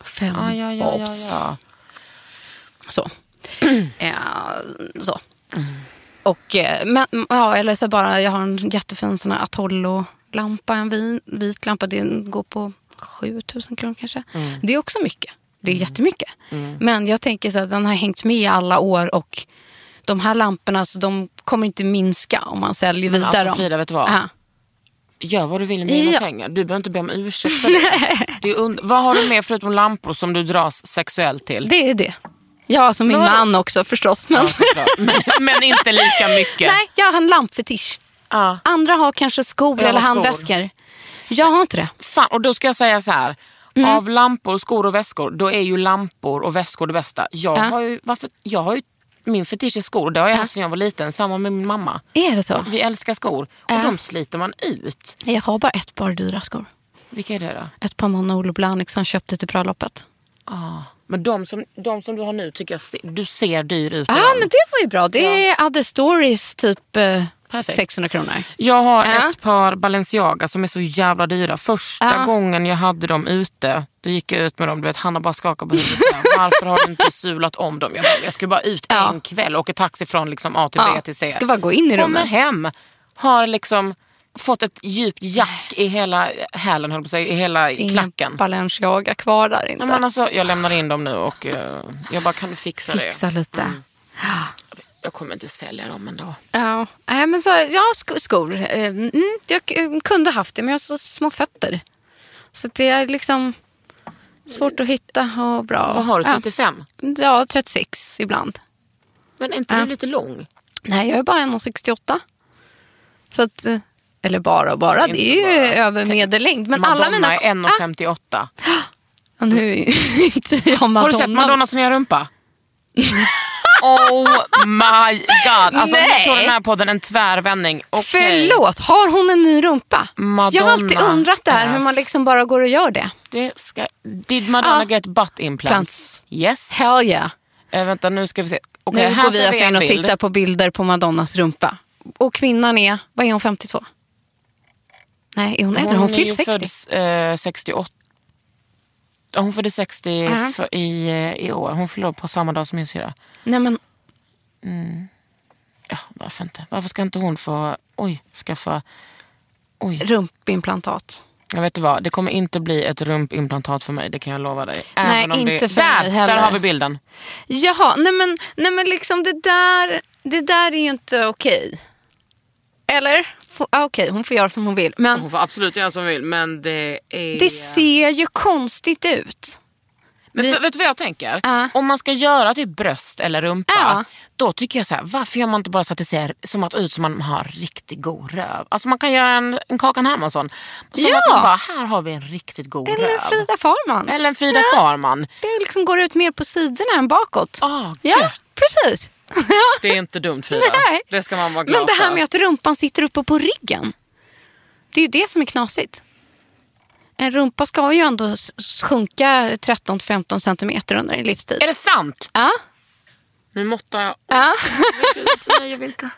[SPEAKER 5] Fem
[SPEAKER 3] Ja, ja, ja, ja,
[SPEAKER 5] obs.
[SPEAKER 3] ja.
[SPEAKER 5] Så. eh, så. Och, eh, men, ja, eller så bara, jag har en jättefin sån här Atollo-lampa, en vin, vit lampa. Den går på 7000 kronor kanske.
[SPEAKER 3] Mm.
[SPEAKER 5] Det är också mycket. Det är jättemycket. Men jag tänker så att den har hängt med i alla år och de här lamporna så de kommer inte minska om man säljer
[SPEAKER 3] Men
[SPEAKER 5] vidare
[SPEAKER 3] alltså,
[SPEAKER 5] dem.
[SPEAKER 3] Frida, vet du vad?
[SPEAKER 5] Ja.
[SPEAKER 3] Gör vad du vill med dina
[SPEAKER 5] Ja.
[SPEAKER 3] pengar. Du behöver inte be om ursäkt för det. det är und- vad har du mer förutom lampor som du dras sexuellt till?
[SPEAKER 5] Det är det. Ja, som min
[SPEAKER 3] Men vadå?
[SPEAKER 5] man också förstås. Men...
[SPEAKER 3] Ja, såklart. men, men inte lika mycket.
[SPEAKER 5] Nej, jag har en lampfetisch.
[SPEAKER 3] Ja.
[SPEAKER 5] Andra har kanske skor
[SPEAKER 3] Jag har
[SPEAKER 5] eller
[SPEAKER 3] skor.
[SPEAKER 5] handväskor. Jag har inte det.
[SPEAKER 3] Fan, och då ska jag säga så här.
[SPEAKER 5] Mm.
[SPEAKER 3] Av lampor, skor och väskor, då är ju lampor och väskor det bästa. Jag
[SPEAKER 5] Ja.
[SPEAKER 3] har ju, varför, jag har ju min fetisch är skor, det har jag haft sedan jag var liten. Samma med min mamma.
[SPEAKER 5] Är det så?
[SPEAKER 3] Vi älskar skor och
[SPEAKER 5] Ja.
[SPEAKER 3] de sliter man ut.
[SPEAKER 5] Jag har bara ett par dyra skor.
[SPEAKER 3] Vilka är det då?
[SPEAKER 5] Ett par Mono-Olo Blahnik som köpte till bröllopet.
[SPEAKER 3] Ah. Men de som, de som du har nu tycker jag se, du ser dyr ut. i
[SPEAKER 5] Ja, ah,
[SPEAKER 3] dem.
[SPEAKER 5] men det var ju bra. Det är Other Stories, typ eh,
[SPEAKER 3] Perfekt.
[SPEAKER 5] 600 kronor.
[SPEAKER 3] Jag har
[SPEAKER 5] Ja.
[SPEAKER 3] ett par Balenciaga som är så jävla dyra. Första
[SPEAKER 5] Ja.
[SPEAKER 3] gången jag hade dem ute, då gick jag ut med dem. Du vet, Hanna bara skakade på huvudet. och sa, Varför har du inte sulat om dem? Jag, bara, jag skulle bara ut
[SPEAKER 5] Ja.
[SPEAKER 3] en kväll och åka taxi från liksom A till B
[SPEAKER 5] Ja,
[SPEAKER 3] till C.
[SPEAKER 5] Ska bara gå in i
[SPEAKER 3] Kommer
[SPEAKER 5] rummet.
[SPEAKER 3] hem, har liksom fått ett djupt jack i hela hälen, höll på att säga, i hela
[SPEAKER 5] Det är inga
[SPEAKER 3] klacken.
[SPEAKER 5] Balenciaga kvar där inte.
[SPEAKER 3] Nej, men alltså, jag lämnar in dem nu och eh, jag bara, kan du fixa,
[SPEAKER 5] Fixa
[SPEAKER 3] det?
[SPEAKER 5] lite.
[SPEAKER 3] Jag kommer inte sälja dem ändå.
[SPEAKER 5] Ja, Nej, men så, jag har sko- skor. Eh, Mm, jag eh, kunde haft det, men jag har så små fötter. Så det är liksom svårt att hitta och bra.
[SPEAKER 3] Vad har du,
[SPEAKER 5] Ja.
[SPEAKER 3] 35?
[SPEAKER 5] Ja, 36 ibland.
[SPEAKER 3] Men är inte
[SPEAKER 5] Ja.
[SPEAKER 3] du lite lång?
[SPEAKER 5] Nej, jag är bara 1,68. Så att, eh, eller bara och bara,
[SPEAKER 3] Inte
[SPEAKER 5] det är ju
[SPEAKER 3] bara.
[SPEAKER 5] över medellängd. Men alla mina...
[SPEAKER 3] är 1,58.
[SPEAKER 5] Ja, nu är ju inte jag Madonna.
[SPEAKER 3] Har du sett Madonnas nya rumpa? oh my god. Alltså
[SPEAKER 5] Nej.
[SPEAKER 3] nu tog den här podden en tvärvändning. Okay.
[SPEAKER 5] Förlåt, har hon en ny rumpa? Jag har
[SPEAKER 3] Madonna
[SPEAKER 5] alltid undrat det här, hur man
[SPEAKER 3] has-
[SPEAKER 5] liksom bara går och gör det.
[SPEAKER 3] Det ska, did Madonna
[SPEAKER 5] Ja.
[SPEAKER 3] get butt implants?
[SPEAKER 5] Ah. Plants.
[SPEAKER 3] Yes.
[SPEAKER 5] Hell yeah.
[SPEAKER 3] Eh, vänta nu ska vi se. Okej,
[SPEAKER 5] Nu
[SPEAKER 3] här
[SPEAKER 5] går
[SPEAKER 3] ser
[SPEAKER 5] vi alltså
[SPEAKER 3] en
[SPEAKER 5] in och
[SPEAKER 3] bild.
[SPEAKER 5] tittar på bilder på Madonnas rumpa. Och kvinnan är, vad är hon, 52? Nej, är hon äldre? Hon,
[SPEAKER 3] är
[SPEAKER 5] fyller
[SPEAKER 3] ju
[SPEAKER 5] 60.
[SPEAKER 3] Född, eh, 68. Ja, Hon föddes 60
[SPEAKER 5] Ja.
[SPEAKER 3] för, i, eh, i år. Hon förlorade på samma dag som min syrra.
[SPEAKER 5] Nej, men
[SPEAKER 3] Ja, varför inte? Varför ska inte hon få oj, skaffa... Oj.
[SPEAKER 5] rumpimplantat.
[SPEAKER 3] Jag vet du vad, det kommer inte bli ett rumpimplantat för mig, det kan jag lova dig.
[SPEAKER 5] Nej,
[SPEAKER 3] Även om det...
[SPEAKER 5] inte för
[SPEAKER 3] där,
[SPEAKER 5] mig heller.
[SPEAKER 3] Där har vi bilden.
[SPEAKER 5] Jaha, nej men, nej men liksom det där, det där är ju inte okej. Eller? Få- ah, Okej, hon får göra som hon vill. Men
[SPEAKER 3] Hon får absolut göra som hon vill, men det är...
[SPEAKER 5] det ser ju konstigt ut.
[SPEAKER 3] men
[SPEAKER 5] vi-
[SPEAKER 3] för, vet du vad jag tänker?
[SPEAKER 5] Ja.
[SPEAKER 3] Om man ska göra typ bröst eller rumpa,
[SPEAKER 5] Ja.
[SPEAKER 3] då tycker jag så här, varför gör man inte bara så att det ser som att ut som man har riktigt god röv? Alltså man kan göra en, en Kakan Hermansson. Som
[SPEAKER 5] Ja.
[SPEAKER 3] att man bara, här har vi en riktigt god
[SPEAKER 5] Eller
[SPEAKER 3] röv.
[SPEAKER 5] en Frida Farman.
[SPEAKER 3] Eller en Frida Farman.
[SPEAKER 5] Det liksom går ut mer på sidorna än bakåt.
[SPEAKER 3] Ah,
[SPEAKER 5] ja,
[SPEAKER 3] gött.
[SPEAKER 5] precis.
[SPEAKER 3] Det är inte dumt Frida.
[SPEAKER 5] Nej.
[SPEAKER 3] Det ska man vara glad
[SPEAKER 5] Men det här
[SPEAKER 3] för.
[SPEAKER 5] med att rumpan sitter uppe på ryggen. Det är ju det som är knasigt. En rumpa ska ju ändå s- sjunka 13-15 centimeter under en livstid.
[SPEAKER 3] Är det sant?
[SPEAKER 5] Ja,
[SPEAKER 3] Nu måttar jag.
[SPEAKER 5] Ja.
[SPEAKER 3] Nej, jag vill inte.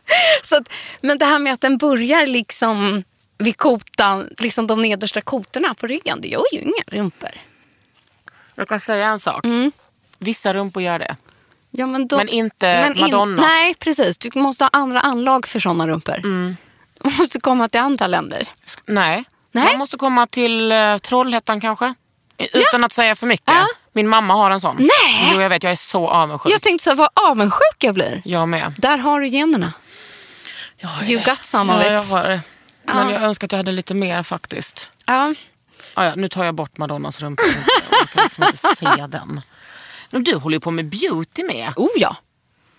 [SPEAKER 5] Så att, men det här med att den börjar liksom vid kotan, liksom de nedersta kotorna på ryggen, det gör ju inga rumpor.
[SPEAKER 3] Jag kan säga en sak.
[SPEAKER 5] Mm.
[SPEAKER 3] Vissa rumpor gör det.
[SPEAKER 5] Ja, men, då,
[SPEAKER 3] Men inte
[SPEAKER 5] in-
[SPEAKER 3] Madonnas.
[SPEAKER 5] nej, precis. Du måste ha andra anlag för sådana rumpor.
[SPEAKER 3] Mm.
[SPEAKER 5] Du måste komma till andra länder.
[SPEAKER 3] Sk- Nej.
[SPEAKER 5] Nej.
[SPEAKER 3] Man måste komma till eh, Trollhättan kanske. I- Utan att säga för mycket.
[SPEAKER 5] Ja.
[SPEAKER 3] Min mamma har en sån.
[SPEAKER 5] Nej.
[SPEAKER 3] Jo, jag vet. Jag är så avundsjuk.
[SPEAKER 5] Jag tänkte så här, vad avundsjuk jag blir.
[SPEAKER 3] Jag med.
[SPEAKER 5] Där har du generna. You got some of
[SPEAKER 3] Ja, jag
[SPEAKER 5] it.
[SPEAKER 3] har det. Men
[SPEAKER 5] Ja.
[SPEAKER 3] jag önskar att jag hade lite mer faktiskt.
[SPEAKER 5] Ja.
[SPEAKER 3] Ah, ja, nu tar jag bort Madonnas rumpa. Jag kan liksom inte se den. Men du håller ju på med beauty med.
[SPEAKER 5] Oh ja.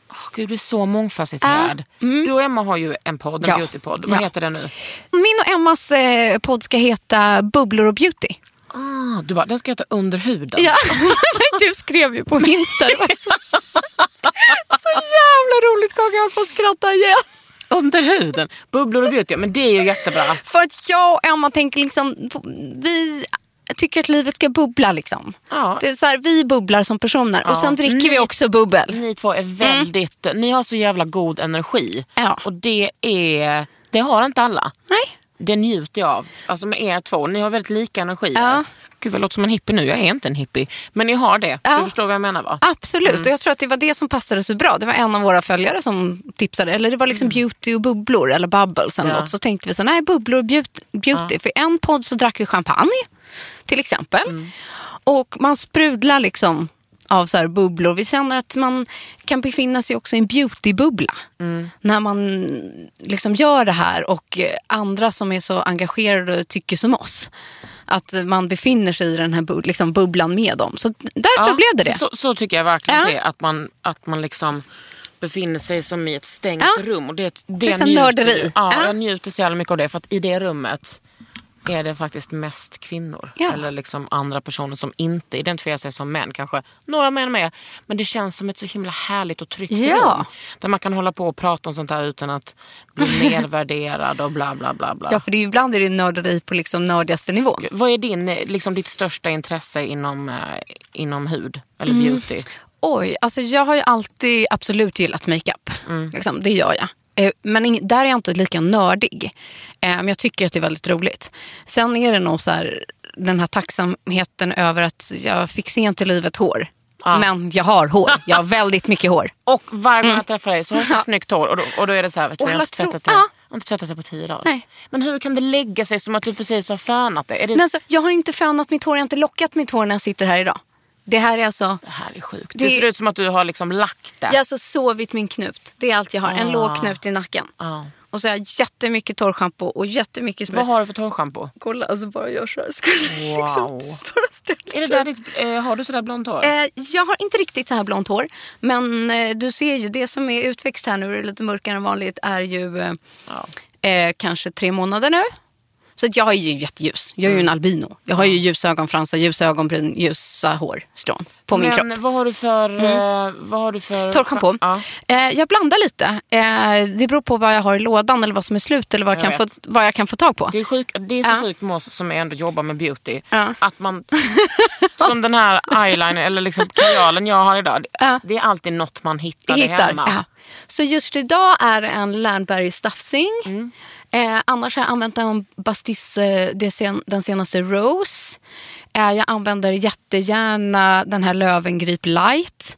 [SPEAKER 3] Åh, Gud, du är så mångfacetterad. Du och Emma har ju en podd, en
[SPEAKER 5] Mm. Ja.
[SPEAKER 3] beautypodd. Vad
[SPEAKER 5] Ja.
[SPEAKER 3] heter den nu?
[SPEAKER 5] Min och Emmas eh, podd ska heta Bubblor och beauty.
[SPEAKER 3] Ah, du bara, den ska heta Under huden.
[SPEAKER 5] Ja. Du skrev ju på min Insta. Det var så, så jävla roligt. Kaka, jag höll på att skratta igen.
[SPEAKER 3] Under huden. Bubblor och beauty. Men det är ju jättebra.
[SPEAKER 5] För att jag och Emma tänker liksom, vi tycker att livet ska bubbla liksom.
[SPEAKER 3] Ja.
[SPEAKER 5] Det är så här, vi bubblar som personer och sen dricker vi också bubbel.
[SPEAKER 3] Ni två är väldigt, ni har så jävla god energi.
[SPEAKER 5] Mm. Ja.
[SPEAKER 3] Och det är, det har inte alla.
[SPEAKER 5] Nej.
[SPEAKER 3] Det njuter jag av. Alltså med er två, ni har väldigt lika energier.
[SPEAKER 5] Ja.
[SPEAKER 3] Gud jag låter som en hippie nu, jag är inte en hippie. Men ni har det,
[SPEAKER 5] Ja.
[SPEAKER 3] du förstår vad jag menar va?
[SPEAKER 5] Absolut, och jag tror att det var det som passade så bra. Det var en av våra följare som tipsade. Eller det var liksom beauty och bubblor, eller bubbles eller
[SPEAKER 3] Mm. Ja.
[SPEAKER 5] något. Så tänkte vi så här, nej bubblor och beauty. beauty. För i en podd så drack vi champagne, till exempel.
[SPEAKER 3] Mm.
[SPEAKER 5] Och man sprudlar liksom av så här bubblor. Vi känner att man kan befinna sig också i en beautybubbla.
[SPEAKER 3] Mm.
[SPEAKER 5] När man liksom gör det här och eh, andra som är så engagerade och tycker som oss. Att eh, man befinner sig i den här bu- liksom bubblan med dem. Så därför
[SPEAKER 3] Ja,
[SPEAKER 5] blev det det.
[SPEAKER 3] Så, så tycker jag verkligen
[SPEAKER 5] Ja.
[SPEAKER 3] det är, att man, att man liksom befinner sig som i ett stängt
[SPEAKER 5] Ja.
[SPEAKER 3] rum. Och det, det
[SPEAKER 5] Precis, en
[SPEAKER 3] njuter
[SPEAKER 5] nörderi.
[SPEAKER 3] ju. Ja,
[SPEAKER 5] Ja.
[SPEAKER 3] Jag njuter så jävla mycket av det, för att i det rummet är det faktiskt mest kvinnor.
[SPEAKER 5] Ja.
[SPEAKER 3] Eller liksom andra personer som inte identifierar sig som män. Kanske några män med. Men det känns som ett så himla härligt och tryggt
[SPEAKER 5] Ja.
[SPEAKER 3] rum. Där man kan hålla på och prata om sånt här utan att bli nedvärderad och bla bla bla. bla.
[SPEAKER 5] Ja, för det är, ju- ibland är det ju nörderi på liksom nördigaste nivån.
[SPEAKER 3] Vad är din, eh, liksom, ditt största intresse inom, eh, inom hud eller
[SPEAKER 5] Mm.
[SPEAKER 3] beauty?
[SPEAKER 5] Oj, alltså jag har ju alltid absolut gillat makeup. Liksom, det gör jag. Eh, Men ing- där är jag inte lika nördig. Eh, Men jag tycker att det är väldigt roligt. Sen är det nog så här, den här tacksamheten över att jag fick sent i livet hår. Men jag har hår. Jag har väldigt mycket hår.
[SPEAKER 3] Och varje gång jag träffar dig så har du så snyggt hår och då, och då är det så här, vet du,
[SPEAKER 5] Mm. Och
[SPEAKER 3] jag har
[SPEAKER 5] alla
[SPEAKER 3] inte tvättat det
[SPEAKER 5] tror-
[SPEAKER 3] jag
[SPEAKER 5] ja.
[SPEAKER 3] har inte tvättat det på tio dagar.
[SPEAKER 5] Nej.
[SPEAKER 3] Men hur kan det lägga sig som att du precis har fönat det? Är det,
[SPEAKER 5] Men alltså, jag har inte fönat mitt hår. Jag har inte lockat mitt hår när jag sitter här idag. Det här är alltså...
[SPEAKER 3] det här är sjukt. Det,
[SPEAKER 5] det-
[SPEAKER 3] ser ut som att du har liksom lagt det.
[SPEAKER 5] Jag har alltså sovit min knut. Det är allt jag har. En låg knut i nacken.
[SPEAKER 3] Ja.
[SPEAKER 5] Och så har jag jättemycket torrschampo och jättemycket smör.
[SPEAKER 3] Vad har du för torrschampo?
[SPEAKER 5] Kolla, alltså bara jag så här. Skulle liksom
[SPEAKER 3] Wow.
[SPEAKER 5] bara ställa
[SPEAKER 3] Är det där ditt, eh, har du sådär blont hår?
[SPEAKER 5] Eh, jag har inte riktigt så här blont hår. Men eh, du ser ju, det som är utväxt här nu och det är lite mörkare än vanligt är ju eh, eh, kanske tre månader nu. Så att jag är ju jätteljus. Jag är ju
[SPEAKER 3] Mm.
[SPEAKER 5] en albino. Jag har ju ljusa ögonfransar, ljusa ögonbryn, ljusa hårstrån på min
[SPEAKER 3] Men
[SPEAKER 5] kropp. Mm.
[SPEAKER 3] vad har du för... Eh, vad har du för...
[SPEAKER 5] Torrschampo.
[SPEAKER 3] Ja.
[SPEAKER 5] Eh, jag blandar lite. Eh, det beror på vad jag har i lådan eller vad som är slut eller vad jag,
[SPEAKER 3] Jag
[SPEAKER 5] kan
[SPEAKER 3] vet.
[SPEAKER 5] få, vad jag kan få tag på.
[SPEAKER 3] Det är, sjuk, det är så
[SPEAKER 5] Ja.
[SPEAKER 3] sjukt med oss som ändå jobbar med beauty.
[SPEAKER 5] Ja.
[SPEAKER 3] Att man, som den här eyeliner eller liksom kajalen jag har idag.
[SPEAKER 5] Ja.
[SPEAKER 3] Det är alltid något man hittar,
[SPEAKER 5] hittar.
[SPEAKER 3] hemma.
[SPEAKER 5] Ja. Så just idag är det en Lernberg Staffsing.
[SPEAKER 3] Mm.
[SPEAKER 5] Eh, annars har jag använt en Bastis, eh, det sen, den senaste Rose. Eh, jag använder jättegärna den här Lövengrip Light.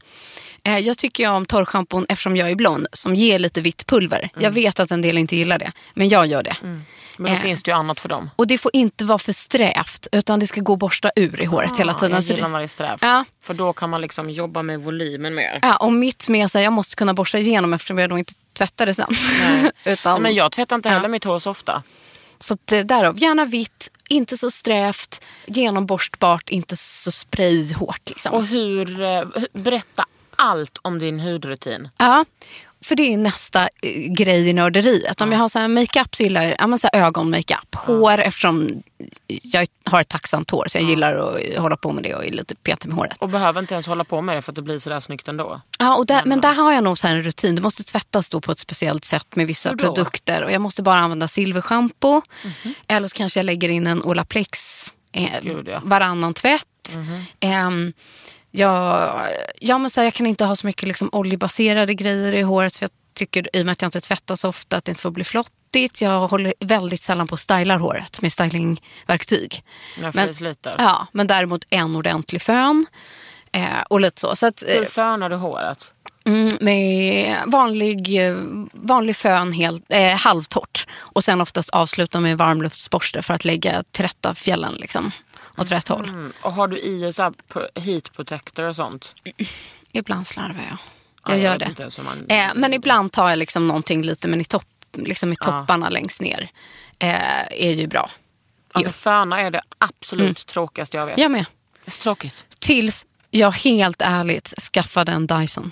[SPEAKER 5] Eh, jag tycker ju om torrschampon eftersom jag är blond som ger lite vitt pulver. Jag vet att en del inte gillar det, men jag gör det.
[SPEAKER 3] Mm. Men då
[SPEAKER 5] Eh.
[SPEAKER 3] finns det ju annat för dem.
[SPEAKER 5] Och det får inte vara för strävt utan det ska gå att borsta ur i håret hela tiden.
[SPEAKER 3] Ah, Jag
[SPEAKER 5] Så det-
[SPEAKER 3] gillar när det är strävt.
[SPEAKER 5] Ja.
[SPEAKER 3] För då kan man liksom jobba med volymen mer.
[SPEAKER 5] Ja, och mitt med sig, jag måste kunna borsta igenom eftersom jag då inte tvättar det sen.
[SPEAKER 3] Nej.
[SPEAKER 5] Utan,
[SPEAKER 3] Men jag tvättar inte heller
[SPEAKER 5] Ja.
[SPEAKER 3] mitt hår så ofta.
[SPEAKER 5] Så att, eh, därav, gärna vitt, inte så strävt, genomborstbart, inte så sprayhårt. Liksom.
[SPEAKER 3] Och hur, eh, berätta allt om din hudrutin.
[SPEAKER 5] Ja, för det är nästa eh, grej i nörderiet. Om jag har så här makeup så gillar jag ja, men så här ögonmakeup. Hår eftersom jag har ett tacksamt hår så jag gillar att hålla på med det och är lite petig med håret.
[SPEAKER 3] Och behöver inte ens hålla på med det för att det blir sådär snyggt ändå.
[SPEAKER 5] Ja, och där, men där har jag nog så här en rutin. Det måste tvättas då på ett speciellt sätt med vissa
[SPEAKER 3] Hur då? Mhm.
[SPEAKER 5] produkter. Och jag måste bara använda silverschampo. Eller så kanske jag lägger in en Olaplex eh,
[SPEAKER 3] Gud, ja. Mhm.
[SPEAKER 5] varannan tvätt. Ehm, Jag, ja, men så här, jag kan inte ha så mycket liksom, oljebaserade grejer i håret för jag tycker i och med att jag inte tvättar så ofta att det inte får bli flottigt. Jag håller väldigt sällan på och stylar håret med stylingverktyg.
[SPEAKER 3] När
[SPEAKER 5] Men-
[SPEAKER 3] frisliter.
[SPEAKER 5] Ja, men däremot en ordentlig fön. Eh, och lite så. så att, eh,
[SPEAKER 3] Hur fönar du håret?
[SPEAKER 5] Mm, med vanlig, eh, vanlig fön helt, eh, halvtorrt. Och sen oftast avsluta med varmluftsborste för att lägga till rätta fjällen liksom, åt rätt håll.
[SPEAKER 3] Mm. Och har du i så här pro- heat protector och sånt?
[SPEAKER 5] Ibland slarvar jag.
[SPEAKER 3] Ja,
[SPEAKER 5] Jag gör
[SPEAKER 3] vet
[SPEAKER 5] det.
[SPEAKER 3] inte ens hur man-
[SPEAKER 5] Eh, men ibland tar jag liksom någonting lite men i, topp, liksom i topparna längst ner. Eh, är ju bra.
[SPEAKER 3] Alltså föna är det absolut tråkigaste jag vet.
[SPEAKER 5] Mm. Jag med.
[SPEAKER 3] Det är så tråkigt.
[SPEAKER 5] Tills jag helt ärligt skaffade en Dyson.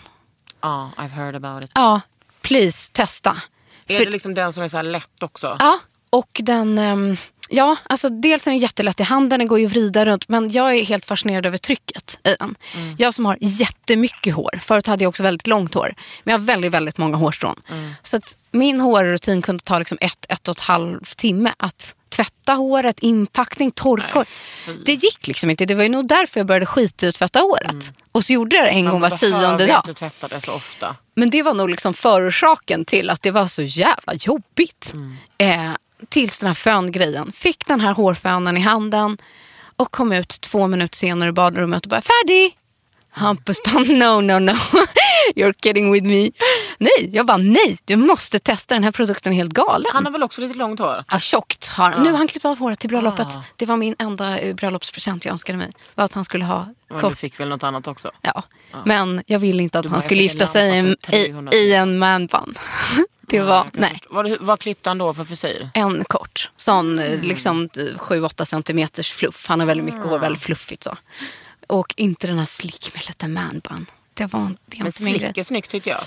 [SPEAKER 3] Ja, I've heard about it.
[SPEAKER 5] Ja, please testa.
[SPEAKER 3] Är
[SPEAKER 5] För-
[SPEAKER 3] det liksom den som är så här lätt också?
[SPEAKER 5] Ja, och den... ehm, Ja, alltså dels är den jättelätt i handen, den går ju att vrida runt. Men jag är helt fascinerad över trycket i den. Jag som har jättemycket hår, förut hade jag också väldigt långt hår. Men jag har väldigt, väldigt många hårstrån. Så att min hårrutin kunde ta liksom ett, ett och ett halvt timme att tvätta håret, inpackning, torka hår. Det gick liksom inte. Det var ju nog därför jag började skita i att tvätta håret. Och så gjorde jag det en gång var tionde dag.
[SPEAKER 3] Du tvättade så ofta.
[SPEAKER 5] Men det var nog liksom förorsaken till att det var så jävla jobbigt.
[SPEAKER 3] Mm.
[SPEAKER 5] Eh, tills den här föngrejen. Fick den här hårfönen i handen och kom ut två minuter senare i badrummet och bara färdig. Hampus bara no, no, no. You're kidding with me. Nej, jag bara nej, du måste testa den här produkten är helt galen.
[SPEAKER 3] Han har väl också lite långt hår?
[SPEAKER 5] Ja, tjockt har han. Nu har han klippt av håret till bröllopet. Det var min enda eh, bröllopspresent jag önskade mig. Var att han skulle ha
[SPEAKER 3] Men
[SPEAKER 5] kort
[SPEAKER 3] du fick väl något annat också?
[SPEAKER 5] Ja. Men jag ville inte att
[SPEAKER 3] Du bara,
[SPEAKER 5] han
[SPEAKER 3] jag
[SPEAKER 5] skulle
[SPEAKER 3] fick en
[SPEAKER 5] gifta sig
[SPEAKER 3] lampa
[SPEAKER 5] i,
[SPEAKER 3] för 300
[SPEAKER 5] i, i en manbun. Det var,
[SPEAKER 3] Jag kan
[SPEAKER 5] nej,
[SPEAKER 3] förstå. Vad, vad klippte han då för frisyr?
[SPEAKER 5] en kort. Sån eh,
[SPEAKER 3] Mm.
[SPEAKER 5] liksom 7-8 centimeters fluff. Han har väldigt mycket
[SPEAKER 3] Ah.
[SPEAKER 5] hår, väldigt fluffigt så. Och inte den här slick med lite manbun. Det var det är
[SPEAKER 3] Men
[SPEAKER 5] inte min grej.
[SPEAKER 3] slick är snyggt tyckte jag.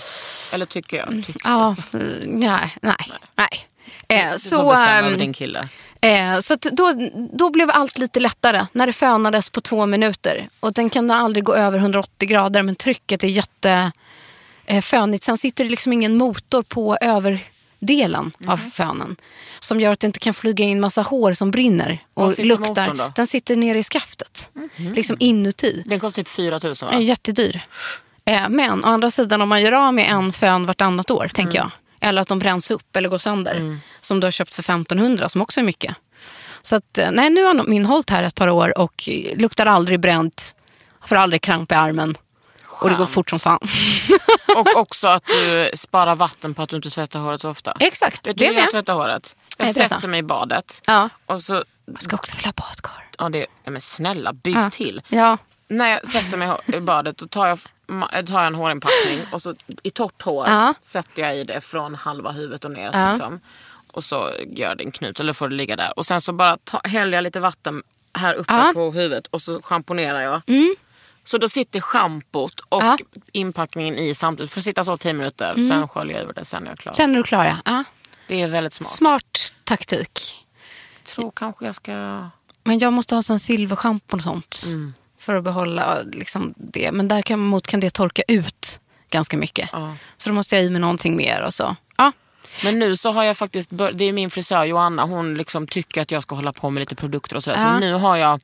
[SPEAKER 3] Eller tycker jag. Tyckte.
[SPEAKER 5] Ja, eh, nej, nej, nej. Eh,
[SPEAKER 3] Du
[SPEAKER 5] så
[SPEAKER 3] får bestämma över
[SPEAKER 5] ehm,
[SPEAKER 3] din kille.
[SPEAKER 5] Eh, så att då, då blev allt lite lättare när det fönades på två minuter. Och den kan då aldrig gå över 180 grader men trycket är jätte eh, fönigt. Sen sitter det liksom ingen motor på överdelen av
[SPEAKER 3] Mhm.
[SPEAKER 5] fönen. Som gör att det inte kan flyga in massa hår som brinner
[SPEAKER 3] Var
[SPEAKER 5] och
[SPEAKER 3] sitter motorn då? Mhm.
[SPEAKER 5] luktar. Den sitter nere i skaftet. Liksom inuti.
[SPEAKER 3] Den kostar typ 4 000 va?
[SPEAKER 5] Den är jättedyr. Eh, men å andra sidan om man gör av med en fön vartannat år tänker
[SPEAKER 3] Mm.
[SPEAKER 5] jag. Eller att de bränns upp eller går sönder. Som du har köpt för 1500 som också är mycket. Så att, eh, nej, nu har nog min hållt här ett par år och eh, luktar aldrig bränt. Får aldrig kramp i armen. Och det går
[SPEAKER 3] Skönt.
[SPEAKER 5] fort som fan.
[SPEAKER 3] Och också att du sparar vatten på att du inte tvättar håret så ofta.
[SPEAKER 5] Exakt,
[SPEAKER 3] Vet du
[SPEAKER 5] det
[SPEAKER 3] hur jag
[SPEAKER 5] med.
[SPEAKER 3] tvättar håret? Jag
[SPEAKER 5] Nej, berätta.
[SPEAKER 3] sätter mig i badet.
[SPEAKER 5] Ja.
[SPEAKER 3] Och så,
[SPEAKER 5] Jag ska också fylla badkar.
[SPEAKER 3] ja, det, ja, men snälla bygg
[SPEAKER 5] Ja.
[SPEAKER 3] till.
[SPEAKER 5] Ja.
[SPEAKER 3] När jag sätter mig i badet då tar jag, ma- eh, tar jag en hårinpackning och så i torrt hår
[SPEAKER 5] Ja.
[SPEAKER 3] sätter jag i det från halva huvudet och neråt.
[SPEAKER 5] Ja.
[SPEAKER 3] Liksom. Och så gör det en knut eller får det ligga där. Och sen så bara ta, häller jag lite vatten här uppe
[SPEAKER 5] Ja. Mm.
[SPEAKER 3] på huvudet och så schamponerar jag. Så då sitter schampot och
[SPEAKER 5] Ja. Mm.
[SPEAKER 3] inpackningen i samtidigt. Får sitta så 10 minuter, sen sköljer jag över det, sen är jag klar.
[SPEAKER 5] Sen är du klar ja. ja.
[SPEAKER 3] det är väldigt smart.
[SPEAKER 5] Smart taktik.
[SPEAKER 3] Tror kanske jag ska...
[SPEAKER 5] Men jag måste ha sån silverschampo och sånt.
[SPEAKER 3] Mm.
[SPEAKER 5] För att behålla liksom, det. Men däremot kan det torka ut ganska mycket.
[SPEAKER 3] Ja.
[SPEAKER 5] Så då måste jag i med någonting mer och så. Ja.
[SPEAKER 3] Men nu så har jag faktiskt, bör- det är min frisör Joanna, hon liksom tycker att jag ska hålla på med lite produkter och sådär. Så
[SPEAKER 5] Ja.
[SPEAKER 3] nu har jag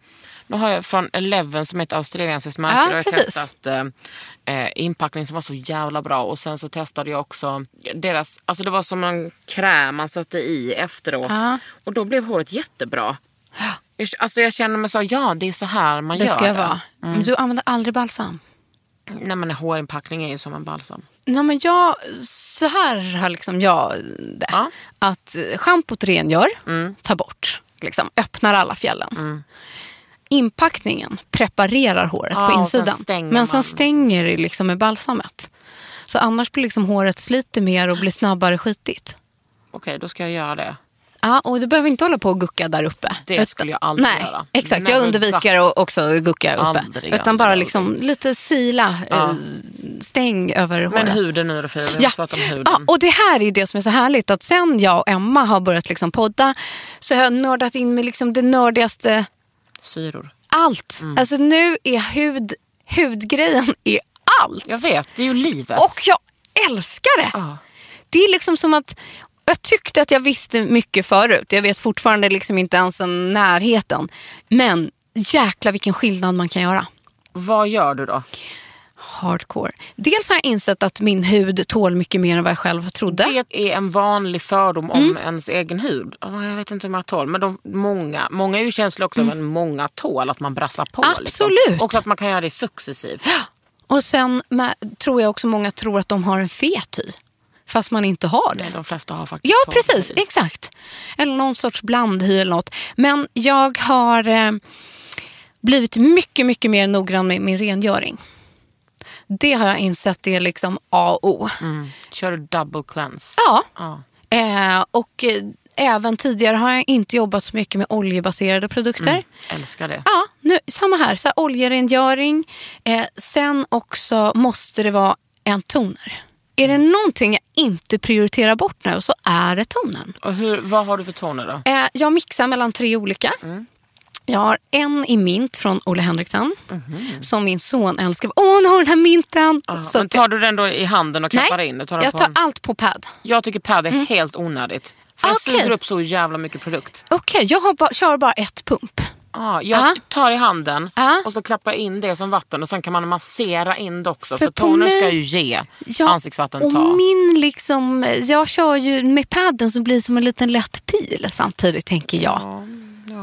[SPEAKER 3] nu har jag från Eleven som är ett australiensiskt märke.
[SPEAKER 5] Ja,
[SPEAKER 3] då har jag
[SPEAKER 5] precis.
[SPEAKER 3] testat eh, eh, inpackning som var så jävla bra. Och sen så testade jag också deras, alltså det var som en kräm man satte i efteråt.
[SPEAKER 5] Ja.
[SPEAKER 3] Och då blev håret jättebra. Jag- Alltså jag känner mig så, ja det är så här man
[SPEAKER 5] Det
[SPEAKER 3] gör
[SPEAKER 5] ska jag
[SPEAKER 3] det. Mm.
[SPEAKER 5] vara. Men du använder aldrig balsam?
[SPEAKER 3] Nej men hårinpackning är ju som en balsam.
[SPEAKER 5] Nej, men jag, så här har liksom jag det.
[SPEAKER 3] Ja.
[SPEAKER 5] Att eh, schampot rengör, tar bort, liksom, öppnar alla fjällen. Inpackningen preparerar håret
[SPEAKER 3] Ja, och
[SPEAKER 5] på
[SPEAKER 3] sen
[SPEAKER 5] insidan.
[SPEAKER 3] stänger
[SPEAKER 5] men sen
[SPEAKER 3] man.
[SPEAKER 5] stänger det liksom med balsamet. Så annars blir liksom håret sliter mer och blir snabbare skitigt.
[SPEAKER 3] Okej då ska jag göra det.
[SPEAKER 5] Ja, och du behöver inte hålla på och gucka där uppe.
[SPEAKER 3] Det skulle jag aldrig
[SPEAKER 5] nej,
[SPEAKER 3] göra.
[SPEAKER 5] Exakt,
[SPEAKER 3] Never
[SPEAKER 5] jag undviker att också gucka uppe.
[SPEAKER 3] Aldrig,
[SPEAKER 5] Utan
[SPEAKER 3] aldrig,
[SPEAKER 5] bara
[SPEAKER 3] aldrig.
[SPEAKER 5] liksom lite sila, eh, stäng över
[SPEAKER 3] Men
[SPEAKER 5] håret.
[SPEAKER 3] huden nu då Fia, vi
[SPEAKER 5] Ja.
[SPEAKER 3] måste prata om huden.
[SPEAKER 5] ja, och det här är ju det som är så härligt att sen jag och Emma har börjat liksom podda så har jag nördat in med liksom det nördigaste
[SPEAKER 3] Syror.
[SPEAKER 5] allt.
[SPEAKER 3] Mm.
[SPEAKER 5] Alltså nu är hud, hudgrejen är allt.
[SPEAKER 3] Jag vet, det är ju livet.
[SPEAKER 5] Och jag älskar det!
[SPEAKER 3] Ja.
[SPEAKER 5] Det är liksom som att jag tyckte att jag visste mycket förut. Jag vet fortfarande liksom inte ens en närheten. Men jäkla vilken skillnad man kan göra.
[SPEAKER 3] Vad gör du då?
[SPEAKER 5] Hardcore. Dels har jag insett att min hud tål mycket mer än vad jag själv trodde.
[SPEAKER 3] Det är en vanlig fördom
[SPEAKER 5] Mm.
[SPEAKER 3] om ens egen hud. Ja, Jag vet inte hur många tål, men de, många, många är ju känsliga också, men många tål att man brassar på.
[SPEAKER 5] Mm. Absolut.
[SPEAKER 3] Liksom. Och att man kan göra det successivt.
[SPEAKER 5] Och sen med, tror jag också många tror att de har en fet hy. Fast man inte har det.
[SPEAKER 3] Nej, de flesta har faktiskt
[SPEAKER 5] Ja,
[SPEAKER 3] torr
[SPEAKER 5] precis.
[SPEAKER 3] hy.
[SPEAKER 5] Exakt. Eller någon sorts blandhy eller något. Men jag har eh, blivit mycket, mycket mer noggrann med min rengöring. Det har jag insett är liksom A och O.
[SPEAKER 3] Mm. Kör du double cleanse?
[SPEAKER 5] Ja.
[SPEAKER 3] Ja.
[SPEAKER 5] Eh, och eh, även tidigare har jag inte jobbat så mycket med oljebaserade produkter.
[SPEAKER 3] Mm. Älskar det.
[SPEAKER 5] Ja, nu, samma här. Så här oljerengöring. Eh, sen också måste det vara en toner. Är det någonting jag inte prioriterar bort nu så är det tonen.
[SPEAKER 3] Och hur, vad har du för toner då?
[SPEAKER 5] Eh, jag mixar mellan tre olika. Jag har en i mint från Ole Henriksen som min son älskar. Åh, han har den här minten!
[SPEAKER 3] Mhm. Ja,
[SPEAKER 5] Så
[SPEAKER 3] men tar du den då i handen och klappar
[SPEAKER 5] nej,
[SPEAKER 3] in? Och tar den
[SPEAKER 5] jag
[SPEAKER 3] på
[SPEAKER 5] tar
[SPEAKER 3] en-
[SPEAKER 5] allt på pad.
[SPEAKER 3] jag tycker pad är helt onödigt. För jag
[SPEAKER 5] Ah, Okej.
[SPEAKER 3] suger upp så jävla mycket produkt.
[SPEAKER 5] Okej, jag har ba- kör bara ett pump.
[SPEAKER 3] Ja, Ah, jag
[SPEAKER 5] Ja.
[SPEAKER 3] tar i handen
[SPEAKER 5] Ja.
[SPEAKER 3] och så klappar jag in det som vatten och sen kan man massera in det också.
[SPEAKER 5] För
[SPEAKER 3] För,
[SPEAKER 5] på
[SPEAKER 3] toner ska
[SPEAKER 5] mig-
[SPEAKER 3] ju ge
[SPEAKER 5] Ja,
[SPEAKER 3] ansiktsvatten
[SPEAKER 5] och
[SPEAKER 3] ta.
[SPEAKER 5] min liksom, jag kör ju med padden som blir som en liten lätt pil samtidigt tänker jag.
[SPEAKER 3] mm,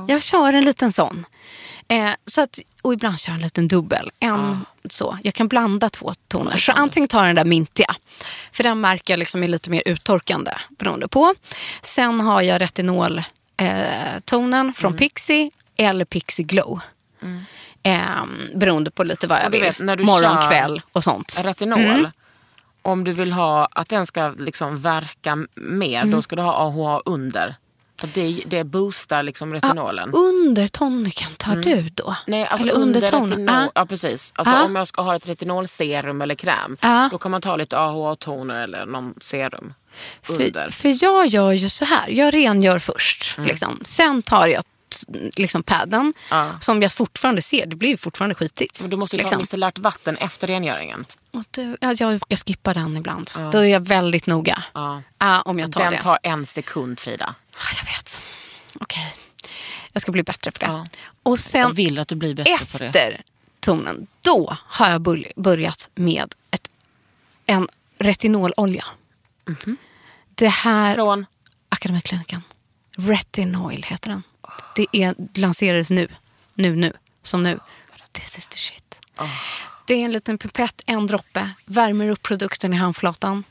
[SPEAKER 5] Jag kör en liten sån. Eh, så att, och ibland kör jag en liten dubbel. En, så. Jag kan blanda två toner. Så antingen tar jag den där mintiga. För den märker jag liksom är lite mer uttorkande beroende på. Sen har jag retinol eh, tonen från
[SPEAKER 3] Mm.
[SPEAKER 5] Pixie eller Pixie Glow. Eh, beroende på lite vad jag
[SPEAKER 3] Och du
[SPEAKER 5] vill.
[SPEAKER 3] vet, när du
[SPEAKER 5] Morgon,
[SPEAKER 3] kör-
[SPEAKER 5] kväll och sånt.
[SPEAKER 3] retinol.
[SPEAKER 5] Mm.
[SPEAKER 3] Om du vill ha att den ska liksom verka m- mer,
[SPEAKER 5] Mm.
[SPEAKER 3] då ska du ha AHA under. För det, det boostar
[SPEAKER 5] Ah,
[SPEAKER 3] liksom retinolen.
[SPEAKER 5] Under toniken tar du då?
[SPEAKER 3] Mm. Nej, alltså
[SPEAKER 5] Eller
[SPEAKER 3] under
[SPEAKER 5] underton? Ah.
[SPEAKER 3] retinol.
[SPEAKER 5] Ja.
[SPEAKER 3] Ja, precis. Alltså,
[SPEAKER 5] Ja.
[SPEAKER 3] Om jag ska ha ett retinolserum eller kräm,
[SPEAKER 5] Ja.
[SPEAKER 3] då kan man ta lite AHA-toner eller någon serum under. Mm.
[SPEAKER 5] För, för jag gör ju så här. Jag rengör först. Liksom. Sen tar jag t- liksom padden
[SPEAKER 3] Ja.
[SPEAKER 5] som jag fortfarande ser. Det blir ju fortfarande skitigt.
[SPEAKER 3] Men du måste ju ta
[SPEAKER 5] liksom.
[SPEAKER 3] micellärt vatten efter rengöringen.
[SPEAKER 5] Och du, ja, jag, jag skippar den ibland. Då är jag väldigt noga.
[SPEAKER 3] Ja.
[SPEAKER 5] Ja, om jag tar
[SPEAKER 3] Den
[SPEAKER 5] det.
[SPEAKER 3] tar en sekund, Frida.
[SPEAKER 5] Ah, jag vet. Okej. Jag ska bli bättre på det.
[SPEAKER 3] Ja.
[SPEAKER 5] Och
[SPEAKER 3] Jag
[SPEAKER 5] sen
[SPEAKER 3] vill att du blir bättre på det.
[SPEAKER 5] efter tonen, då har jag börj- börjat med ett, en retinololja. Det här...
[SPEAKER 3] Mhm. Från
[SPEAKER 5] Akademikliniken. Retinoil heter den. Det är, lanserades nu. Nu, nu. Som nu. This is the shit.
[SPEAKER 3] Ah.
[SPEAKER 5] Det är en liten pipett, en droppe. Värmer upp produkten i handflatan.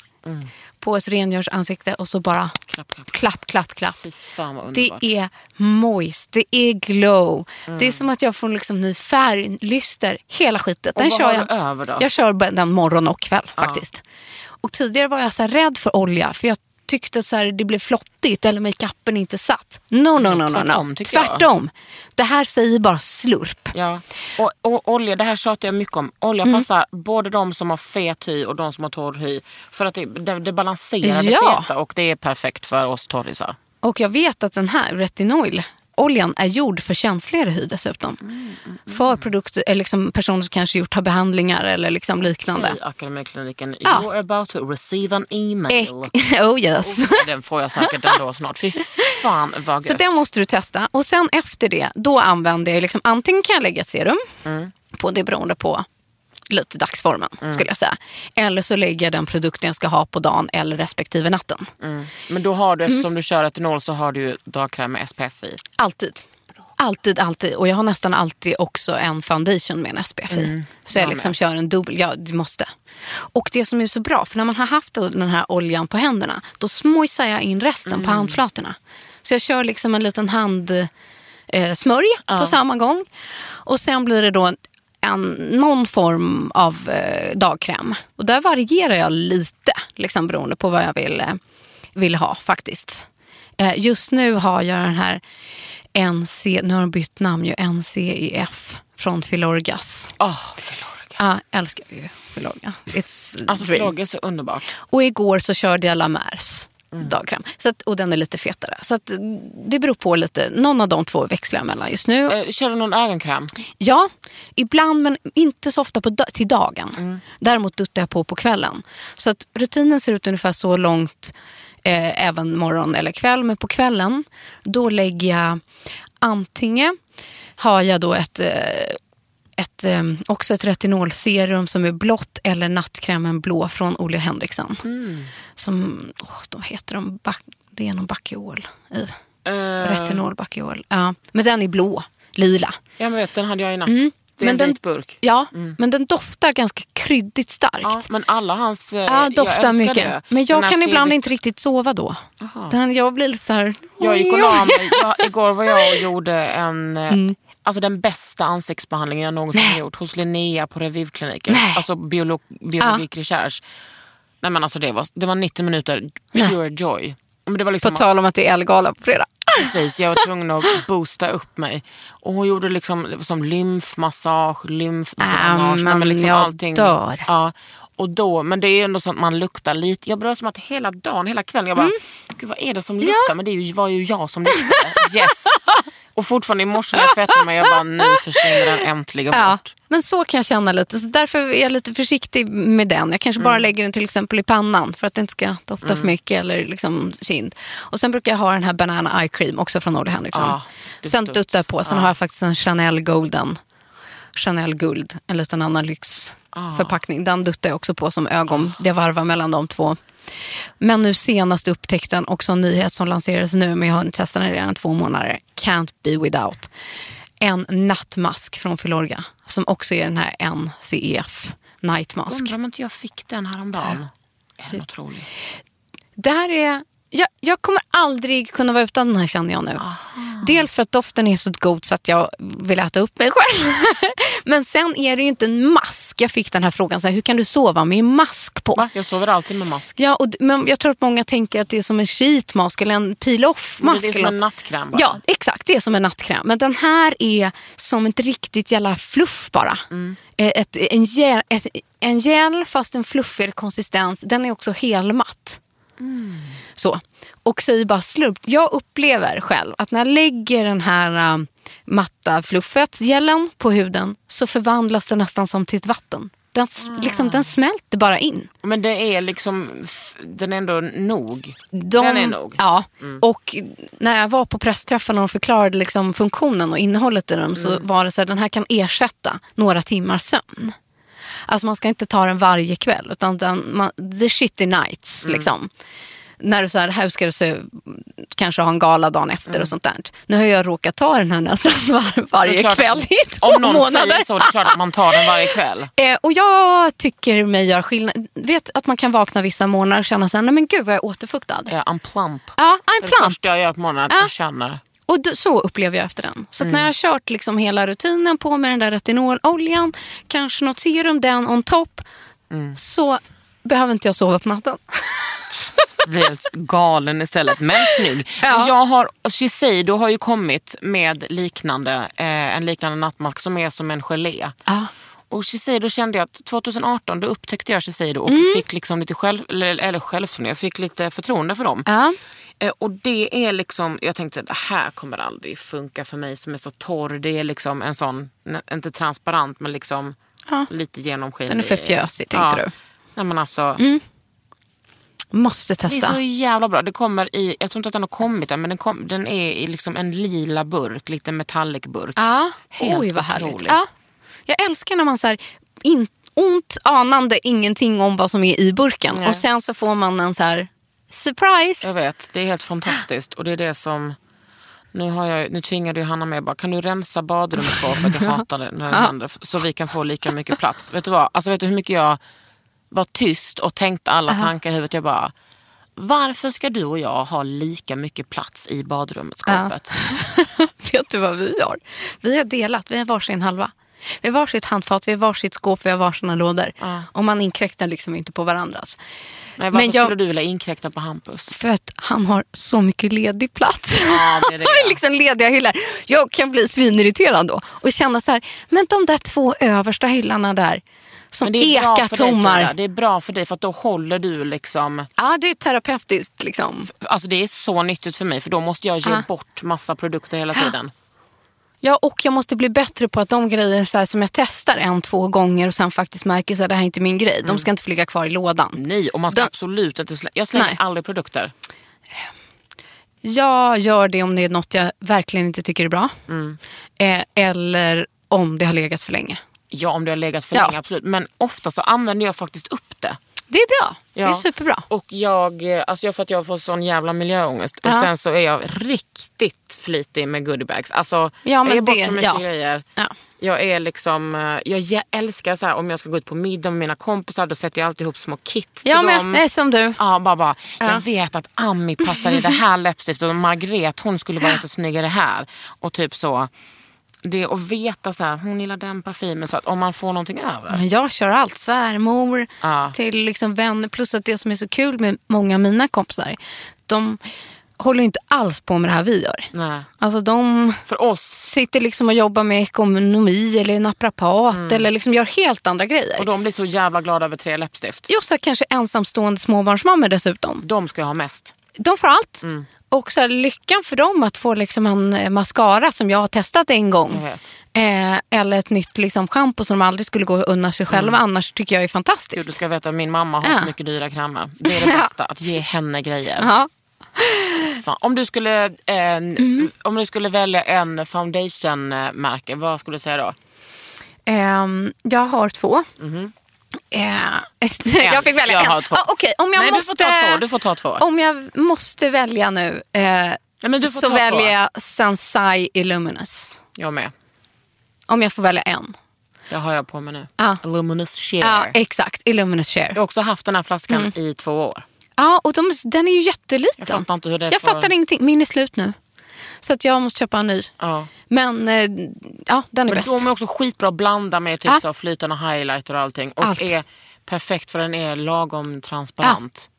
[SPEAKER 5] På ett rengörsansikte och så bara
[SPEAKER 3] Mm. Klapp, klapp.
[SPEAKER 5] klapp, klapp. klapp.
[SPEAKER 3] Fy fan vad
[SPEAKER 5] Det
[SPEAKER 3] underbart. Mm.
[SPEAKER 5] är moist, det är glow. Det är som att jag får liksom ny färg, lyster, hela skitet.
[SPEAKER 3] Och
[SPEAKER 5] Den
[SPEAKER 3] vad
[SPEAKER 5] kör
[SPEAKER 3] har
[SPEAKER 5] jag,
[SPEAKER 3] du över då?
[SPEAKER 5] jag kör b- den morgon och kväll faktiskt. Och tidigare var jag så här rädd för olja för jag tyckte så här, det blev flottigt eller makeupen inte satt. No, no, no. no, no.
[SPEAKER 3] Tvärtom, tycker jag.
[SPEAKER 5] Tvärtom. Det här säger bara slurp.
[SPEAKER 3] Ja. Och, och olja, det här tjatar jag mycket om. Olja
[SPEAKER 5] Mm.
[SPEAKER 3] passar både de som har fet hy och de som har torr hy. För att det, det, det balanserar
[SPEAKER 5] Ja.
[SPEAKER 3] det feta och det är perfekt för oss torrisar.
[SPEAKER 5] Och jag vet att den här retinoil Oljan är gjord för känsligare hy dessutom.
[SPEAKER 3] Mm,
[SPEAKER 5] För produkter, eller liksom personer som kanske gjort har behandlingar eller liksom liknande.
[SPEAKER 3] I Akademikliniken.
[SPEAKER 5] Ja.
[SPEAKER 3] You're about to receive an email.
[SPEAKER 5] Äck- Oh yes.
[SPEAKER 3] Oh, den får jag säkert ändå snart. Fy fan vad
[SPEAKER 5] Så
[SPEAKER 3] gött.
[SPEAKER 5] den måste du testa. Och sen efter det, då använder jag liksom, antingen kan jag lägga ett serum på det beroende på lite dagsformen skulle jag säga. Eller så lägger jag den produkten jag ska ha på dagen eller respektive natten.
[SPEAKER 3] Mm. Men då har du,
[SPEAKER 5] Mm.
[SPEAKER 3] eftersom du kör etanol så har du ju dagkräm med SPF i.
[SPEAKER 5] Alltid. Alltid, alltid. Och jag har nästan alltid också en foundation med en SPF i. Så jag liksom kör en dubbel, ja det måste. Och det som är så bra, för när man har haft den här oljan på händerna, då smojsar jag in resten på handflatorna. Så jag kör liksom en liten hand eh, smörj på samma gång. Och sen blir det då en, en, någon form av eh, dagkräm. Och där varierar jag lite, liksom beroende på vad jag vill, eh, vill ha faktiskt. Eh, just nu har jag den här NC, nu har de bytt namn ju, NCEF från Filorgas.
[SPEAKER 3] Åh, Filorga.
[SPEAKER 5] Ja, älskar ju Filorga. It's
[SPEAKER 3] Alltså
[SPEAKER 5] dream.
[SPEAKER 3] Filorga är så underbart.
[SPEAKER 5] Och igår så körde jag La Mers
[SPEAKER 3] Mm.
[SPEAKER 5] dagkräm. Så att, och den är lite fetare. Så att, det beror på lite. Någon av de två växlar jag mellan just nu.
[SPEAKER 3] Eh, Kör du någon ögonkräm?
[SPEAKER 5] Ja, ibland men inte så ofta på da- till dagen. Däremot duttar jag på på kvällen. Så att rutinen ser ut ungefär så långt eh, även morgon eller kväll. Men på kvällen då lägger jag antingen har jag då ett eh, ett, eh, också ett retinolserum som är blått eller nattkrämen blå från Olle Henriksson. Som, åh, de heter de, back, det är någon bakiol i.
[SPEAKER 3] Eh,
[SPEAKER 5] Retinol, bakiol. Ja. Men den är blå, lila.
[SPEAKER 3] Jag vet, den hade jag i natt.
[SPEAKER 5] Mm.
[SPEAKER 3] Det är
[SPEAKER 5] Men
[SPEAKER 3] en
[SPEAKER 5] den-
[SPEAKER 3] vit burk.
[SPEAKER 5] Ja, men den doftar ganska kryddigt starkt.
[SPEAKER 3] Mm. Ja, men alla hans... eh,
[SPEAKER 5] Ja,
[SPEAKER 3] jag älskar
[SPEAKER 5] doftar mycket.
[SPEAKER 3] Det.
[SPEAKER 5] Men
[SPEAKER 3] Den
[SPEAKER 5] jag
[SPEAKER 3] här
[SPEAKER 5] kan ibland
[SPEAKER 3] silver-
[SPEAKER 5] inte riktigt sova då.
[SPEAKER 3] Jaha.
[SPEAKER 5] Den, jag blir lite så här...
[SPEAKER 3] Jag gick och la mig. Jag, igår var jag och gjorde en, eh, alltså den bästa ansiktsbehandlingen jag någonsin
[SPEAKER 5] Mm. Nej.
[SPEAKER 3] gjort hos Linnea på Revivkliniken.
[SPEAKER 5] Nej.
[SPEAKER 3] Alltså biolog, biologik research. Nej, men alltså det, var, det var 90 minuter pure joy. Men det var
[SPEAKER 5] På
[SPEAKER 3] liksom
[SPEAKER 5] tal om att det är Elgala på fredag. Ah!
[SPEAKER 3] Precis, jag var tvungen att boosta upp mig. Och hon gjorde liksom, som lymfmassage, lymfdränage, nej, men
[SPEAKER 5] men
[SPEAKER 3] liksom
[SPEAKER 5] jag
[SPEAKER 3] allting.
[SPEAKER 5] dör.
[SPEAKER 3] Ja, och då, men det är ju ändå så att man luktar lite. Jag berörs som att hela dagen, hela kvällen, jag bara,
[SPEAKER 5] Mm.
[SPEAKER 3] gud vad är det som luktar? Men det är ju- var ju jag som luktade. Yes! Och fortfarande i morse när jag tvättade mig, jag bara, nu försvinner den äntligen
[SPEAKER 5] Ja,
[SPEAKER 3] bort.
[SPEAKER 5] men så kan jag känna lite. Så därför är jag lite försiktig med den. Jag kanske
[SPEAKER 3] Mm.
[SPEAKER 5] bara lägger den till exempel i pannan för att den inte ska dofta för mycket eller liksom kind. Och sen brukar jag ha den här Banana Eye Cream också från Olle Henriksson.
[SPEAKER 3] Ja, Ah, det är Ah.
[SPEAKER 5] sen
[SPEAKER 3] dutt.
[SPEAKER 5] duttar jag på. Sen
[SPEAKER 3] Ja.
[SPEAKER 5] har jag faktiskt en Chanel Golden. Chanel Guld, en liten annan lyxförpackning. Den duttar jag också på som ögon. Det varvar mellan de två. Men nu senast upptäckten, också en nyhet som lanserades nu, men jag har testat den redan i två månader. Can't be without. En nattmask från Filorga som också är den här NCEF Night Mask.
[SPEAKER 3] Undrar om inte jag fick den häromdagen. Är den otrolig?
[SPEAKER 5] Det här är... Jag, jag kommer aldrig kunna vara utan den här känner jag nu.
[SPEAKER 3] Ah.
[SPEAKER 5] Dels för att doften är så god så att jag vill äta upp mig själv. Men sen är det ju inte en mask. Jag fick den här frågan, så här, hur kan du sova med en mask på?
[SPEAKER 3] Va? Jag sover alltid med mask.
[SPEAKER 5] Ja, och, d- men jag tror att många tänker att det är som en sheetmask eller en
[SPEAKER 3] Men
[SPEAKER 5] peel-off-mask.
[SPEAKER 3] Det är som
[SPEAKER 5] eller
[SPEAKER 3] en
[SPEAKER 5] något.
[SPEAKER 3] nattkräm bara.
[SPEAKER 5] Ja, exakt. Det är som en nattkräm. Men den här är som ett riktigt jävla fluff bara.
[SPEAKER 3] Mm.
[SPEAKER 5] Eh, Ett, en, gel, ett, en gel fast en fluffig konsistens. Den är också helmatt.
[SPEAKER 3] Mm.
[SPEAKER 5] Så. Och säger bara slump. Jag upplever själv att när jag lägger den här eh, matta fluffet, gelen, på huden så förvandlas den nästan som till ett vatten. Den, s-
[SPEAKER 3] Ah.
[SPEAKER 5] liksom, den smälter bara in.
[SPEAKER 3] Men det är liksom, f- den är ändå nog.
[SPEAKER 5] De,
[SPEAKER 3] Den är nog. Mm.
[SPEAKER 5] Ja, och när jag var på pressträffen och de förklarade liksom funktionen och innehållet i dem så
[SPEAKER 3] Mm.
[SPEAKER 5] var det så här, den här kan ersätta några timmars sömn. Alltså man ska inte ta den varje kväll utan den, man, the shitty nights
[SPEAKER 3] Mm.
[SPEAKER 5] liksom. När du så här, här ska du se, kanske ha en gala dagen efter och sånt där. Nu har jag råkat ta den här nästan var,
[SPEAKER 3] Mm. Det är
[SPEAKER 5] varje
[SPEAKER 3] klart-
[SPEAKER 5] kväll i två
[SPEAKER 3] Om någon
[SPEAKER 5] månader.
[SPEAKER 3] säger så, det är klart att man tar den varje kväll.
[SPEAKER 5] Eh, och jag tycker mig gör skillnad. Vet att man kan vakna vissa morgnar och känna så här, nej men gud vad jag är återfuktad.
[SPEAKER 3] Ja, I'm plump.
[SPEAKER 5] Ja,
[SPEAKER 3] Det är
[SPEAKER 5] I'm
[SPEAKER 3] det
[SPEAKER 5] plump.
[SPEAKER 3] första jag gör på morgonen, att
[SPEAKER 5] Ja.
[SPEAKER 3] jag känner.
[SPEAKER 5] Och d- så upplever jag efter den. Så att när jag har kört liksom hela rutinen på med den där retinololjan, kanske något serum, den on top, Mm. så behöver inte jag sova på natten.
[SPEAKER 3] blir helt galen istället, men snygg. Men Jag har, Shiseido har ju kommit med liknande, eh, en liknande nattmask som är som en gelé.
[SPEAKER 5] Ja.
[SPEAKER 3] Och Shiseido kände jag att 2018 då upptäckte jag Shiseido och
[SPEAKER 5] Mm.
[SPEAKER 3] fick liksom lite själv, eller, eller självförtroende, jag fick lite förtroende för dem.
[SPEAKER 5] Ja.
[SPEAKER 3] Eh, och det är liksom, jag tänkte att det här kommer aldrig funka för mig som är så torr. Det är liksom en sån, n- inte transparent men liksom
[SPEAKER 5] Ja.
[SPEAKER 3] lite genomskinlig.
[SPEAKER 5] Den är för fjösig, tänkte du. Mm,
[SPEAKER 3] Nej men alltså,
[SPEAKER 5] Måste
[SPEAKER 3] det är
[SPEAKER 5] testa.
[SPEAKER 3] så jävla bra. Det kommer i, jag tror inte att den har kommit än men den, kom, den är i liksom en lila burk, lite metallic burk.
[SPEAKER 5] Ja.
[SPEAKER 3] Helt
[SPEAKER 5] Oj, vad härligt.
[SPEAKER 3] otroligt.
[SPEAKER 5] Ja. Jag älskar när man så här, in, ont anande ingenting om vad som är i burken
[SPEAKER 3] Nej.
[SPEAKER 5] och sen så får man en så här
[SPEAKER 3] Jag
[SPEAKER 5] surprise.
[SPEAKER 3] vet, det är helt fantastiskt. Och det är det som... Nu, har jag, nu tvingade ju Hanna mig bara, kan du rensa badrummet på för att jag hatar det när den andra, så vi kan få lika mycket plats. Vet du vad? Alltså vet du hur mycket jag var tyst och tänkte alla tankar i huvudet. Jag bara, varför ska du och jag ha lika mycket plats i badrummet, skåpet?
[SPEAKER 5] Vet du vad vi har? Vi har delat, vi har varsin halva. Vi har varsitt handfat, vi har varsitt skåp, vi har varsina lådor. Och man inkräktar liksom inte på varandras.
[SPEAKER 3] Nej, varför
[SPEAKER 5] Men jag-
[SPEAKER 3] skulle du vilja inkräkta på Hampus?
[SPEAKER 5] För att han har så mycket ledig plats.
[SPEAKER 3] Ja, det är det.
[SPEAKER 5] liksom lediga hyllor. Jag kan bli svinirriterad då och känna så här, men de där två översta hyllorna där som
[SPEAKER 3] Men det är, bra
[SPEAKER 5] ekar
[SPEAKER 3] för dig, Frida.
[SPEAKER 5] tommar.
[SPEAKER 3] det är bra för dig för att då håller du liksom...
[SPEAKER 5] Ja, det är terapeutiskt liksom.
[SPEAKER 3] Alltså det är så nyttigt för mig för då måste jag ge bort massa produkter hela tiden.
[SPEAKER 5] Ja, och jag måste bli bättre på att de grejer så här, som jag testar en, två gånger och sen faktiskt märker att det här är inte min grej. De
[SPEAKER 3] Mm.
[SPEAKER 5] ska inte få ligga kvar i lådan.
[SPEAKER 3] Nej, och man ska
[SPEAKER 5] Den-
[SPEAKER 3] absolut inte slänga. Jag slänger
[SPEAKER 5] Nej.
[SPEAKER 3] aldrig produkter.
[SPEAKER 5] Jag gör det om
[SPEAKER 3] Mm.
[SPEAKER 5] det är något jag verkligen inte tycker är bra. Eh, eller om det har legat för länge.
[SPEAKER 3] Ja, om det har legat för
[SPEAKER 5] Ja.
[SPEAKER 3] länge, absolut. Men ofta så använder jag faktiskt upp det.
[SPEAKER 5] Det är bra. Det
[SPEAKER 3] Ja.
[SPEAKER 5] är superbra.
[SPEAKER 3] Och jag, eh, alltså jag för att jag får sån jävla miljöångest. Och
[SPEAKER 5] Ja.
[SPEAKER 3] sen så är jag riktigt flitig med goodiebags. Alltså, jag
[SPEAKER 5] men
[SPEAKER 3] ger bort
[SPEAKER 5] det-
[SPEAKER 3] så mycket
[SPEAKER 5] ja.
[SPEAKER 3] grejer.
[SPEAKER 5] Ja.
[SPEAKER 3] Jag är liksom, eh, jag ge- älskar så här, om jag ska gå ut på middag med mina kompisar, då sätter jag alltid ihop små kit till
[SPEAKER 5] Jag med.
[SPEAKER 3] dem.
[SPEAKER 5] Nej, som du.
[SPEAKER 3] Ja, bara, bara.
[SPEAKER 5] Ja.
[SPEAKER 3] Jag vet att Ami passar i det här läppstiftet och Margret hon skulle vara lite snyggare här. Och typ så. Det att veta så här, hon gillar den parfymen så att om man får någonting över.
[SPEAKER 5] Men jag kör allt. Svärmor
[SPEAKER 3] Ja.
[SPEAKER 5] till liksom vänner. Plus att det som är så kul med många av mina kompisar, de håller ju inte alls på med det här vi gör.
[SPEAKER 3] Nej.
[SPEAKER 5] Alltså de
[SPEAKER 3] För oss.
[SPEAKER 5] sitter liksom och jobbar med ekonomi eller naprapat eller liksom gör helt andra grejer.
[SPEAKER 3] Mm. Och de blir så jävla glada över tre läppstift.
[SPEAKER 5] Jo, så här, kanske ensamstående småbarnsmammor dessutom.
[SPEAKER 3] De ska jag ha mest.
[SPEAKER 5] De får allt.
[SPEAKER 3] Mm.
[SPEAKER 5] Och så här, lyckan för dem att få liksom en eh, mascara som jag har testat en
[SPEAKER 3] Jag
[SPEAKER 5] gång.
[SPEAKER 3] vet.
[SPEAKER 5] Eh, eller ett nytt liksom, shampoo som de aldrig skulle gå och unna sig själva annars tycker jag är
[SPEAKER 3] Mm. Gud, du
[SPEAKER 5] fantastiskt.
[SPEAKER 3] ska veta att min mamma har
[SPEAKER 5] Ja.
[SPEAKER 3] så mycket dyra krämer. Det är det bästa, att ge henne grejer.
[SPEAKER 5] Ja.
[SPEAKER 3] Fan. Om, du skulle, eh,
[SPEAKER 5] Mm.
[SPEAKER 3] om du skulle välja en foundation-märke, vad skulle du säga då?
[SPEAKER 5] Ehm, jag har två. Eh, jag fick välja
[SPEAKER 3] Mhm. Jag
[SPEAKER 5] en.
[SPEAKER 3] har två.
[SPEAKER 5] Ah, Okej, om jag
[SPEAKER 3] Nej,
[SPEAKER 5] måste...
[SPEAKER 3] du får ta två. Du får ta två.
[SPEAKER 5] Om jag måste välja nu eh,
[SPEAKER 3] Ja, men du får
[SPEAKER 5] så
[SPEAKER 3] ta två.
[SPEAKER 5] väljer jag Sansai Illuminous.
[SPEAKER 3] Jag med.
[SPEAKER 5] Om jag får välja en.
[SPEAKER 3] Det har jag på mig nu.
[SPEAKER 5] Ja.
[SPEAKER 3] Luminous Share.
[SPEAKER 5] Ja, Mm. exakt. Illuminous Share.
[SPEAKER 3] jag har också haft den här flaskan i två år.
[SPEAKER 5] Ja, och de, den är ju jätteliten.
[SPEAKER 3] Jag fattar inte hur det
[SPEAKER 5] Jag
[SPEAKER 3] får-
[SPEAKER 5] fattar ingenting. Min är slut nu. Så att jag måste köpa en ny.
[SPEAKER 3] Ja.
[SPEAKER 5] Men eh, ja, den
[SPEAKER 3] Men
[SPEAKER 5] är bäst.
[SPEAKER 3] de är också skitbra att blanda med typ
[SPEAKER 5] Ja.
[SPEAKER 3] så flytande highlighter och allting. Och
[SPEAKER 5] Allt.
[SPEAKER 3] är perfekt för den är lagom transparent.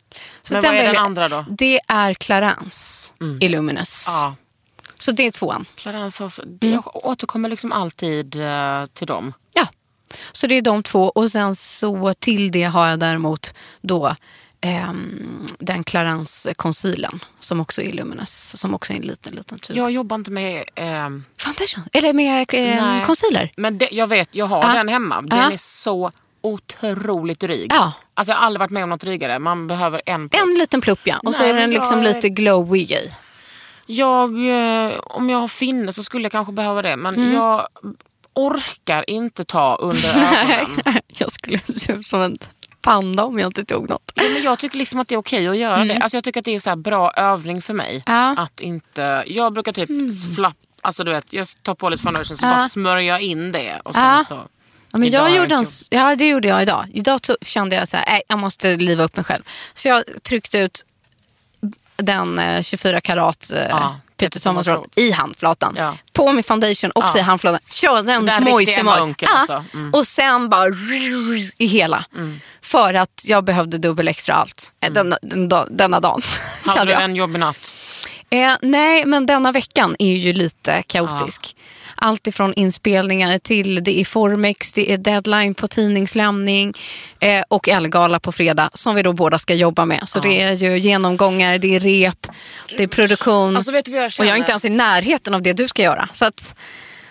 [SPEAKER 5] Så
[SPEAKER 3] Men vad är
[SPEAKER 5] väljer
[SPEAKER 3] den
[SPEAKER 5] jag.
[SPEAKER 3] andra då? Mm.
[SPEAKER 5] Det är Clarence Illuminous.
[SPEAKER 3] Ja.
[SPEAKER 5] Så det är tvåan.
[SPEAKER 3] Clarence har, så- det-
[SPEAKER 5] Mm.
[SPEAKER 3] jag återkommer liksom alltid eh, till dem.
[SPEAKER 5] Ja, så det är de två. Och sen så till det har jag däremot då ehm, den Clarence Concealern som också är Illuminous, som också är en liten, liten tub.
[SPEAKER 3] Jag jobbar inte med... ehm,
[SPEAKER 5] Foundation, eller med eh,
[SPEAKER 3] Nej.
[SPEAKER 5] concealer.
[SPEAKER 3] men det, jag vet, jag har
[SPEAKER 5] Ja.
[SPEAKER 3] den hemma. Den
[SPEAKER 5] Ja.
[SPEAKER 3] är så otroligt dryg.
[SPEAKER 5] Ja.
[SPEAKER 3] Alltså, jag har aldrig varit med om något drygare. Man behöver en
[SPEAKER 5] En liten plupp ja, och så
[SPEAKER 3] Nej,
[SPEAKER 5] är den
[SPEAKER 3] men jag
[SPEAKER 5] liksom
[SPEAKER 3] är-
[SPEAKER 5] lite glowig i.
[SPEAKER 3] Jag, eh, om jag har finne så skulle jag kanske behöva det men
[SPEAKER 5] Mm.
[SPEAKER 3] jag orkar inte ta under ögonen.
[SPEAKER 5] jag skulle se ut som en panda om jag inte tog något.
[SPEAKER 3] Ja, men jag tycker liksom att det är okej att göra det. Alltså jag tycker att det är så här bra övning för mig.
[SPEAKER 5] Mm. Ja. Mm.
[SPEAKER 3] Att inte, jag brukar typ flapp, alltså du vet, jag tar på lite foundation så bara smörjer jag in det. Och sen
[SPEAKER 5] Ja.
[SPEAKER 3] så,
[SPEAKER 5] Ja, men
[SPEAKER 3] Idag har
[SPEAKER 5] jag
[SPEAKER 3] jag
[SPEAKER 5] gjorde en,
[SPEAKER 3] inte
[SPEAKER 5] ja, det gjorde jag idag. Idag to- kände jag så här, nej, jag måste liva upp mig själv. Så jag tryckte ut den eh, 24 karat eh,
[SPEAKER 3] Ja,
[SPEAKER 5] Peter
[SPEAKER 3] Peter
[SPEAKER 5] Thomas
[SPEAKER 3] Thomas
[SPEAKER 5] Roth i handflatan.
[SPEAKER 3] Ja.
[SPEAKER 5] På min foundation, också
[SPEAKER 3] Ja.
[SPEAKER 5] i handflatan. Körde en
[SPEAKER 3] Den där
[SPEAKER 5] moise
[SPEAKER 3] riktiga
[SPEAKER 5] moj.
[SPEAKER 3] munken alltså. Mm.
[SPEAKER 5] Och sen bara rrrr i hela. För att jag behövde dubbel extra allt. Eh, Denna, den, da- denna dagen.
[SPEAKER 3] Mm. hade du
[SPEAKER 5] kände jag.
[SPEAKER 3] en jobbig natt?
[SPEAKER 5] Eh, nej, men denna veckan är ju lite kaotisk. Allt ifrån inspelningar till det är Formex, det är deadline på tidningslämning eh, och Elgala på fredag som vi då båda ska jobba med. Så det är ju genomgångar, det är rep, det är produktion.
[SPEAKER 3] Alltså vet du vad jag
[SPEAKER 5] Mm. och
[SPEAKER 3] känner?
[SPEAKER 5] jag är inte ens i närheten av det du ska göra. Så att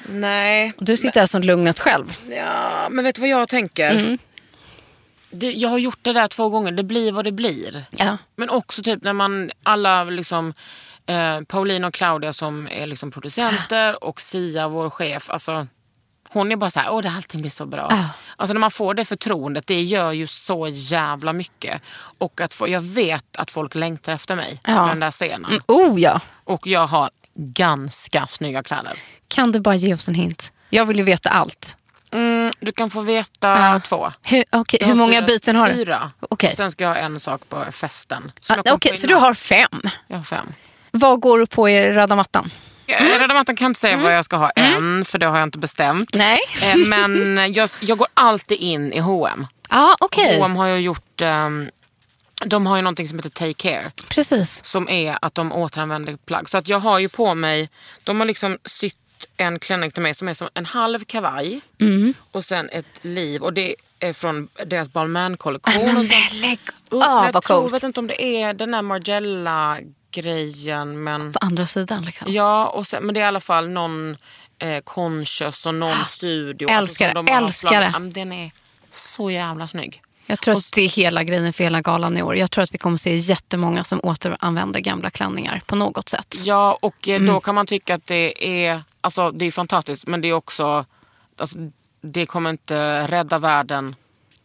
[SPEAKER 3] Nej,
[SPEAKER 5] du sitter här som lugnet själv.
[SPEAKER 3] ja, men vet du vad jag tänker?
[SPEAKER 5] Mm.
[SPEAKER 3] Det, jag har gjort det där två gånger, det blir vad det blir.
[SPEAKER 5] Ja.
[SPEAKER 3] Men också typ när man alla liksom eh, Pauline och Claudia som är liksom producenter och Sia vår chef. Alltså, hon är bara så här, åh det allting blir så bra.
[SPEAKER 5] Ah.
[SPEAKER 3] Alltså när man får det förtroendet, det gör ju så jävla mycket. Och att få, jag vet att folk längtar efter mig
[SPEAKER 5] Ja.
[SPEAKER 3] på den där scenen.
[SPEAKER 5] Mm, oh ja.
[SPEAKER 3] Och jag har ganska snygga kläder.
[SPEAKER 5] Kan du bara ge oss en hint? Jag vill ju veta allt.
[SPEAKER 3] Mm, du kan få veta
[SPEAKER 5] Ja.
[SPEAKER 3] två.
[SPEAKER 5] Hur, okej,
[SPEAKER 3] Jag
[SPEAKER 5] hur
[SPEAKER 3] har
[SPEAKER 5] många
[SPEAKER 3] fyra-
[SPEAKER 5] byten har du?
[SPEAKER 3] Fyra.
[SPEAKER 5] Okej.
[SPEAKER 3] Och Sen ska jag ha en sak på festen. som
[SPEAKER 5] Ah,
[SPEAKER 3] jag
[SPEAKER 5] Okej,
[SPEAKER 3] kom på
[SPEAKER 5] så du
[SPEAKER 3] innan.
[SPEAKER 5] har fem.
[SPEAKER 3] Jag har fem.
[SPEAKER 5] Vad går du på i röda mattan?
[SPEAKER 3] Mm. Röda mattan kan jag inte säga vad jag ska ha än, för det har jag inte bestämt.
[SPEAKER 5] Mm. Nej.
[SPEAKER 3] Eh, Men jag, jag går alltid in i H&M.
[SPEAKER 5] Ja, okej.
[SPEAKER 3] H&M har ju gjort, ehm, de har ju någonting som heter Take Care,
[SPEAKER 5] Precis.
[SPEAKER 3] som är att de återanvänder plagg. Så att jag har ju på mig, de har liksom sytt en klänning till mig som är som en halv kavaj
[SPEAKER 5] Mm.
[SPEAKER 3] och sen ett liv. Och det är från deras Balmain-kollektion. Och sen-
[SPEAKER 5] lägg
[SPEAKER 3] Upp- men
[SPEAKER 5] av,
[SPEAKER 3] jag
[SPEAKER 5] Ah, vad
[SPEAKER 3] tror-
[SPEAKER 5] coolt.
[SPEAKER 3] vet inte om det är den där Margiela-grejen men...
[SPEAKER 5] På andra sidan liksom.
[SPEAKER 3] Ja, och sen, men det är i alla fall någon eh, conscious och någon studio.
[SPEAKER 5] Älskar
[SPEAKER 3] som
[SPEAKER 5] det,
[SPEAKER 3] de har
[SPEAKER 5] älskar
[SPEAKER 3] slagit-
[SPEAKER 5] det.
[SPEAKER 3] Ja, men Den är så jävla snygg.
[SPEAKER 5] Jag tror
[SPEAKER 3] Och
[SPEAKER 5] att det är hela grejen för hela galan i år. Jag tror att vi kommer se jättemånga som återanvänder gamla klänningar på något sätt.
[SPEAKER 3] Ja, Mm. och eh, då kan man tycka att det är, alltså, det är fantastiskt men det är också, alltså, det kommer inte rädda världen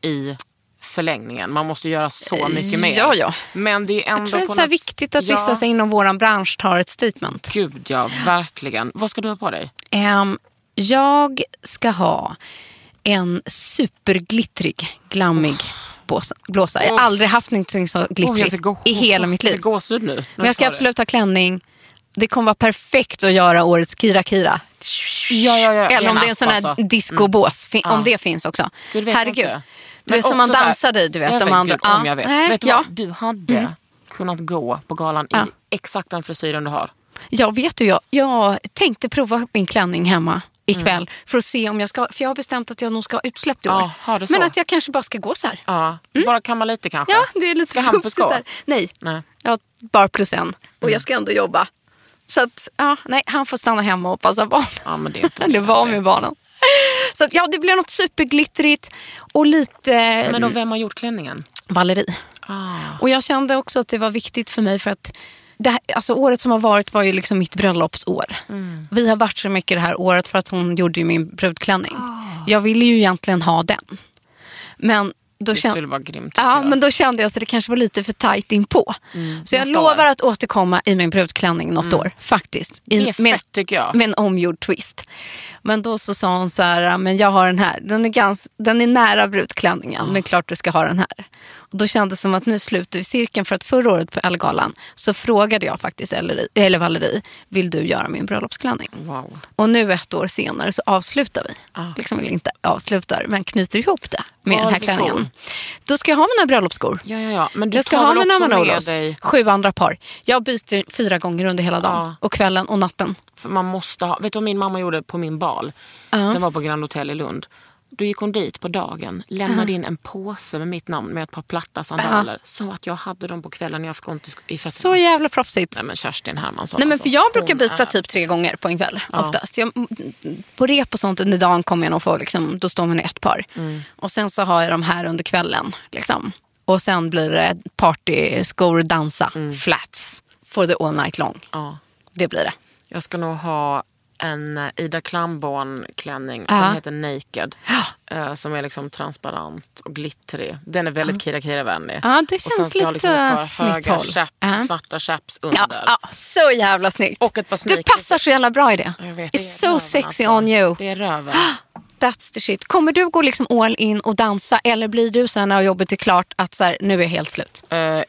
[SPEAKER 3] i förlängningen. Man måste göra så mycket mer.
[SPEAKER 5] Ja, ja.
[SPEAKER 3] Men det är ändå
[SPEAKER 5] Jag tror att
[SPEAKER 3] på
[SPEAKER 5] det är så här
[SPEAKER 3] något-
[SPEAKER 5] viktigt att
[SPEAKER 3] Ja.
[SPEAKER 5] vissa så inom vår bransch tar ett statement.
[SPEAKER 3] Gud ja, verkligen. Vad ska du ha på dig?
[SPEAKER 5] Ehm, jag ska ha en superglittrig, glammig bås- blåsa. Jag har
[SPEAKER 3] Åh.
[SPEAKER 5] aldrig haft någonting så
[SPEAKER 3] Åh, jag fick
[SPEAKER 5] glittrigt
[SPEAKER 3] gå-
[SPEAKER 5] i hela mitt
[SPEAKER 3] Jag
[SPEAKER 5] liv.
[SPEAKER 3] fick gåshud nu. när
[SPEAKER 5] Men jag
[SPEAKER 3] sa
[SPEAKER 5] ska
[SPEAKER 3] det.
[SPEAKER 5] absolut ha klänning. Det kommer vara perfekt att göra årets Kira Kira.
[SPEAKER 3] Ja, ja, ja.
[SPEAKER 5] Eller om det är en sån här
[SPEAKER 3] app, alltså.
[SPEAKER 5] discobås, fin-
[SPEAKER 3] Ja.
[SPEAKER 5] om det finns också.
[SPEAKER 3] Gud, vet jag
[SPEAKER 5] Herregud.
[SPEAKER 3] inte.
[SPEAKER 5] Du vet,
[SPEAKER 3] Men
[SPEAKER 5] som man
[SPEAKER 3] också så här-
[SPEAKER 5] dansade i, du vet.
[SPEAKER 3] Jag
[SPEAKER 5] de andra.
[SPEAKER 3] Gud, om
[SPEAKER 5] Ja.
[SPEAKER 3] jag vet.
[SPEAKER 5] Nej,
[SPEAKER 3] vet du
[SPEAKER 5] ja. Mm.
[SPEAKER 3] vad? Du hade kunnat gå på galan
[SPEAKER 5] Ja.
[SPEAKER 3] i exakt den frisyren du har.
[SPEAKER 5] Jag vet du, jag, jag tänkte prova min klänning hemma ikväll för att se om jag ska, för jag har bestämt att jag nog ska ha utsläpp i år.
[SPEAKER 3] Mm. Ja, har du så?
[SPEAKER 5] Men att jag kanske bara ska gå så här.
[SPEAKER 3] Ja. Bara kamma lite kanske.
[SPEAKER 5] Mm. Ja, det är lite
[SPEAKER 3] Ska Hampus
[SPEAKER 5] tufft
[SPEAKER 3] gå? Mm.
[SPEAKER 5] där. Nej,
[SPEAKER 3] Nej.
[SPEAKER 5] jag har bara plus en och jag ska ändå jobba. Så att, ja, nej, han får stanna hemma och passa barn.
[SPEAKER 3] Ja, men det är inte
[SPEAKER 5] Eller vara med
[SPEAKER 3] rätt.
[SPEAKER 5] barnen. Så att, ja, det blir något superglittrigt och lite
[SPEAKER 3] Men då, vem har gjort klänningen?
[SPEAKER 5] Valerie.
[SPEAKER 3] Ah.
[SPEAKER 5] Och jag kände också att det var viktigt för mig för att det här, alltså året som har varit var ju liksom mitt bröllopsår.
[SPEAKER 3] Mm.
[SPEAKER 5] Vi har varit så mycket det här året för att hon gjorde ju min brudklänning.
[SPEAKER 3] Ah.
[SPEAKER 5] Jag ville ju egentligen ha den. Men då
[SPEAKER 3] Det
[SPEAKER 5] kände...
[SPEAKER 3] skulle vara grymt. tycker
[SPEAKER 5] Ja,
[SPEAKER 3] jag. Mm,
[SPEAKER 5] men då kände jag att det kanske var lite för tajt inpå. Så jag
[SPEAKER 3] nästa
[SPEAKER 5] lovar
[SPEAKER 3] år.
[SPEAKER 5] att återkomma i min brudklänning något år, faktiskt. I,
[SPEAKER 3] Mm. Det är
[SPEAKER 5] med,
[SPEAKER 3] fett, tycker jag.
[SPEAKER 5] med en omgjord twist. Men då så sa hon så här, "Ja, men jag har den här. Den är, gans, den är nära brudklänningen, men klart du ska ha den här. Och då kändes det som att nu sluter vi cirkeln för att förra året på Ellegalan så frågade jag faktiskt Elleri, eller Valerie, vill du göra min bröllopsklänning?
[SPEAKER 3] Wow.
[SPEAKER 5] Och nu ett år senare så avslutar vi.
[SPEAKER 3] Ah.
[SPEAKER 5] Liksom, eller inte avslutar, men knyter ihop det med
[SPEAKER 3] Vad har
[SPEAKER 5] den här
[SPEAKER 3] du för skor?
[SPEAKER 5] klänningen. Då ska jag ha mina bröllopsskor.
[SPEAKER 3] Ja, ja, ja. Men du
[SPEAKER 5] jag ska
[SPEAKER 3] tar
[SPEAKER 5] ha
[SPEAKER 3] väl
[SPEAKER 5] mina
[SPEAKER 3] också med
[SPEAKER 5] Manolos.
[SPEAKER 3] dig- Ah.
[SPEAKER 5] Sju andra par. Jag byter fyra gånger under hela dagen.
[SPEAKER 3] Ja.
[SPEAKER 5] Och kvällen och natten.
[SPEAKER 3] För man måste ha. Vet du vad min mamma gjorde på min bal? Den var på Grand Hotel i Lund. Då gick hon dit på dagen, lämnade in en påse med mitt namn med ett par platta sandaler. Så att jag hade dem på kvällen när jag fick ont i sk- i fötterna.
[SPEAKER 5] Så jävla proffsigt.
[SPEAKER 3] Nej men Kerstin Hermansson.
[SPEAKER 5] Nej, men
[SPEAKER 3] alltså.
[SPEAKER 5] för jag brukar
[SPEAKER 3] Hon
[SPEAKER 5] byta
[SPEAKER 3] är- Ah.
[SPEAKER 5] typ tre gånger på en kväll. Oftast. Jag, på rep och sånt under dagen kommer jag nog få, liksom, då står man i ett par.
[SPEAKER 3] Mm.
[SPEAKER 5] Och sen så har jag de här under kvällen. Liksom. Och sen blir det partyskor, dansa,
[SPEAKER 3] Mm.
[SPEAKER 5] flats. For the all night long.
[SPEAKER 3] Ja.
[SPEAKER 5] Det blir det.
[SPEAKER 3] Jag ska nog ha en eh, Ida Klamborn klänning.
[SPEAKER 5] Ja.
[SPEAKER 3] Den heter Naked. Eh, Som är liksom transparent och glittrig. Den är väldigt Kira Kira-vänlig.
[SPEAKER 5] Ja, det
[SPEAKER 3] och sen
[SPEAKER 5] känns
[SPEAKER 3] ska jag
[SPEAKER 5] lite
[SPEAKER 3] liksom ett par
[SPEAKER 5] mitt
[SPEAKER 3] höga
[SPEAKER 5] håll.
[SPEAKER 3] chaps,
[SPEAKER 5] Ja.
[SPEAKER 3] svarta chaps under.
[SPEAKER 5] Ja, ja, så jävla snyggt.
[SPEAKER 3] Och ett par
[SPEAKER 5] du
[SPEAKER 3] sneakers.
[SPEAKER 5] passar så jävla bra i det.
[SPEAKER 3] Jag vet, det är
[SPEAKER 5] It's so
[SPEAKER 3] röven,
[SPEAKER 5] sexy
[SPEAKER 3] alltså.
[SPEAKER 5] on you.
[SPEAKER 3] Det är röven.
[SPEAKER 5] That's the shit. Kommer du gå liksom all in och dansa eller blir du sen när jobbet är klart att så här, nu är jag helt slut?
[SPEAKER 3] Eh,
[SPEAKER 5] Eller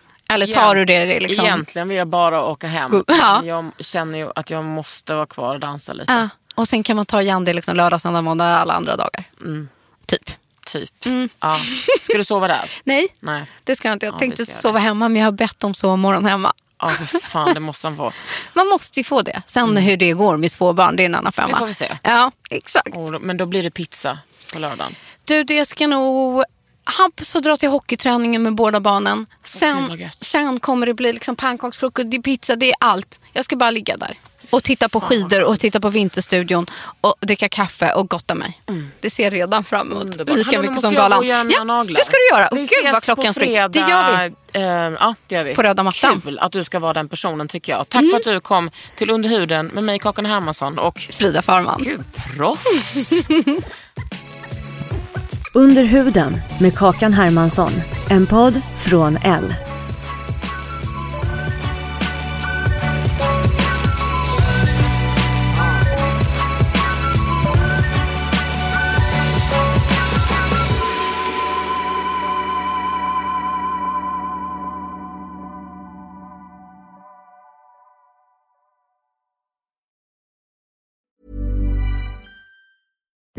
[SPEAKER 3] igen-
[SPEAKER 5] tar du det, det liksom?
[SPEAKER 3] Egentligen vill jag bara åka hem.
[SPEAKER 5] Gå- Ja.
[SPEAKER 3] Men Jag känner ju att jag måste vara kvar och dansa lite.
[SPEAKER 5] Ja. Och sen kan man ta igen det liksom lördag, söndag, måndag, alla andra dagar.
[SPEAKER 3] Mm.
[SPEAKER 5] Typ.
[SPEAKER 3] Typ. Ja. Ska du sova där?
[SPEAKER 5] Nej,
[SPEAKER 3] Nej.
[SPEAKER 5] det ska jag inte. Jag
[SPEAKER 3] Ja,
[SPEAKER 5] tänkte
[SPEAKER 3] vi ska göra
[SPEAKER 5] sova hemma men jag har bett om sovmorgon hemma.
[SPEAKER 3] Ja, för fan det måste han få.
[SPEAKER 5] Man måste ju få det. Sen hur det går med två barn, det är en annan femma.
[SPEAKER 3] Mm. Det får vi se.
[SPEAKER 5] Ja, exakt.
[SPEAKER 3] Och Oh, då- Men då blir det pizza på lördagen.
[SPEAKER 5] Du, det ska nog... Hampus får dra till hockeyträningen med båda barnen.
[SPEAKER 3] gud,
[SPEAKER 5] Sen,
[SPEAKER 3] vad gött.
[SPEAKER 5] sen kommer det bli liksom pannkaksfrukost, det är pizza, det är allt. Jag ska bara ligga där och titta på skidor och titta på Vinterstudion och dricka kaffe och gotta mig. Det ser jag redan fram emot.
[SPEAKER 3] Mm. Underbart.
[SPEAKER 5] Lika
[SPEAKER 3] Hallå, nu
[SPEAKER 5] mycket
[SPEAKER 3] måste
[SPEAKER 5] som
[SPEAKER 3] jag gå
[SPEAKER 5] galan.
[SPEAKER 3] och göra mina
[SPEAKER 5] ja,
[SPEAKER 3] naglar.
[SPEAKER 5] det ska du göra. Och
[SPEAKER 3] Vi
[SPEAKER 5] Gud
[SPEAKER 3] ses
[SPEAKER 5] vad klockan
[SPEAKER 3] på
[SPEAKER 5] springer.
[SPEAKER 3] fredag.
[SPEAKER 5] Det gör vi.
[SPEAKER 3] Eh, ja, det gör vi.
[SPEAKER 5] På röda mattan. Mm.
[SPEAKER 3] Kul att du ska vara den personen tycker jag. Tack för att du kom till Underhuden med mig Kakan Hermansson och
[SPEAKER 5] Frida Farman.
[SPEAKER 3] Gud, proffs.
[SPEAKER 4] Under huden med Kakan Hermansson. En podd från L.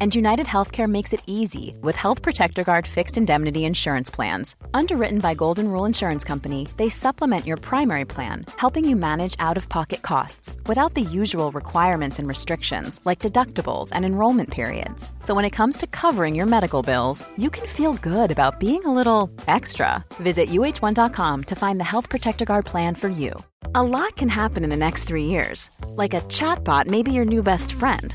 [SPEAKER 7] And United Healthcare makes it easy with Health Protector Guard fixed indemnity insurance plans. Underwritten by Golden Rule Insurance Company, they supplement your primary plan, helping you manage out of pocket costs without the usual requirements and restrictions like deductibles and enrollment periods. So when it comes to covering your medical bills, you can feel good about being a little extra. Visit uh1.com to find the Health Protector Guard plan for you. A lot can happen in the next three years. Like a chatbot may be your new best friend.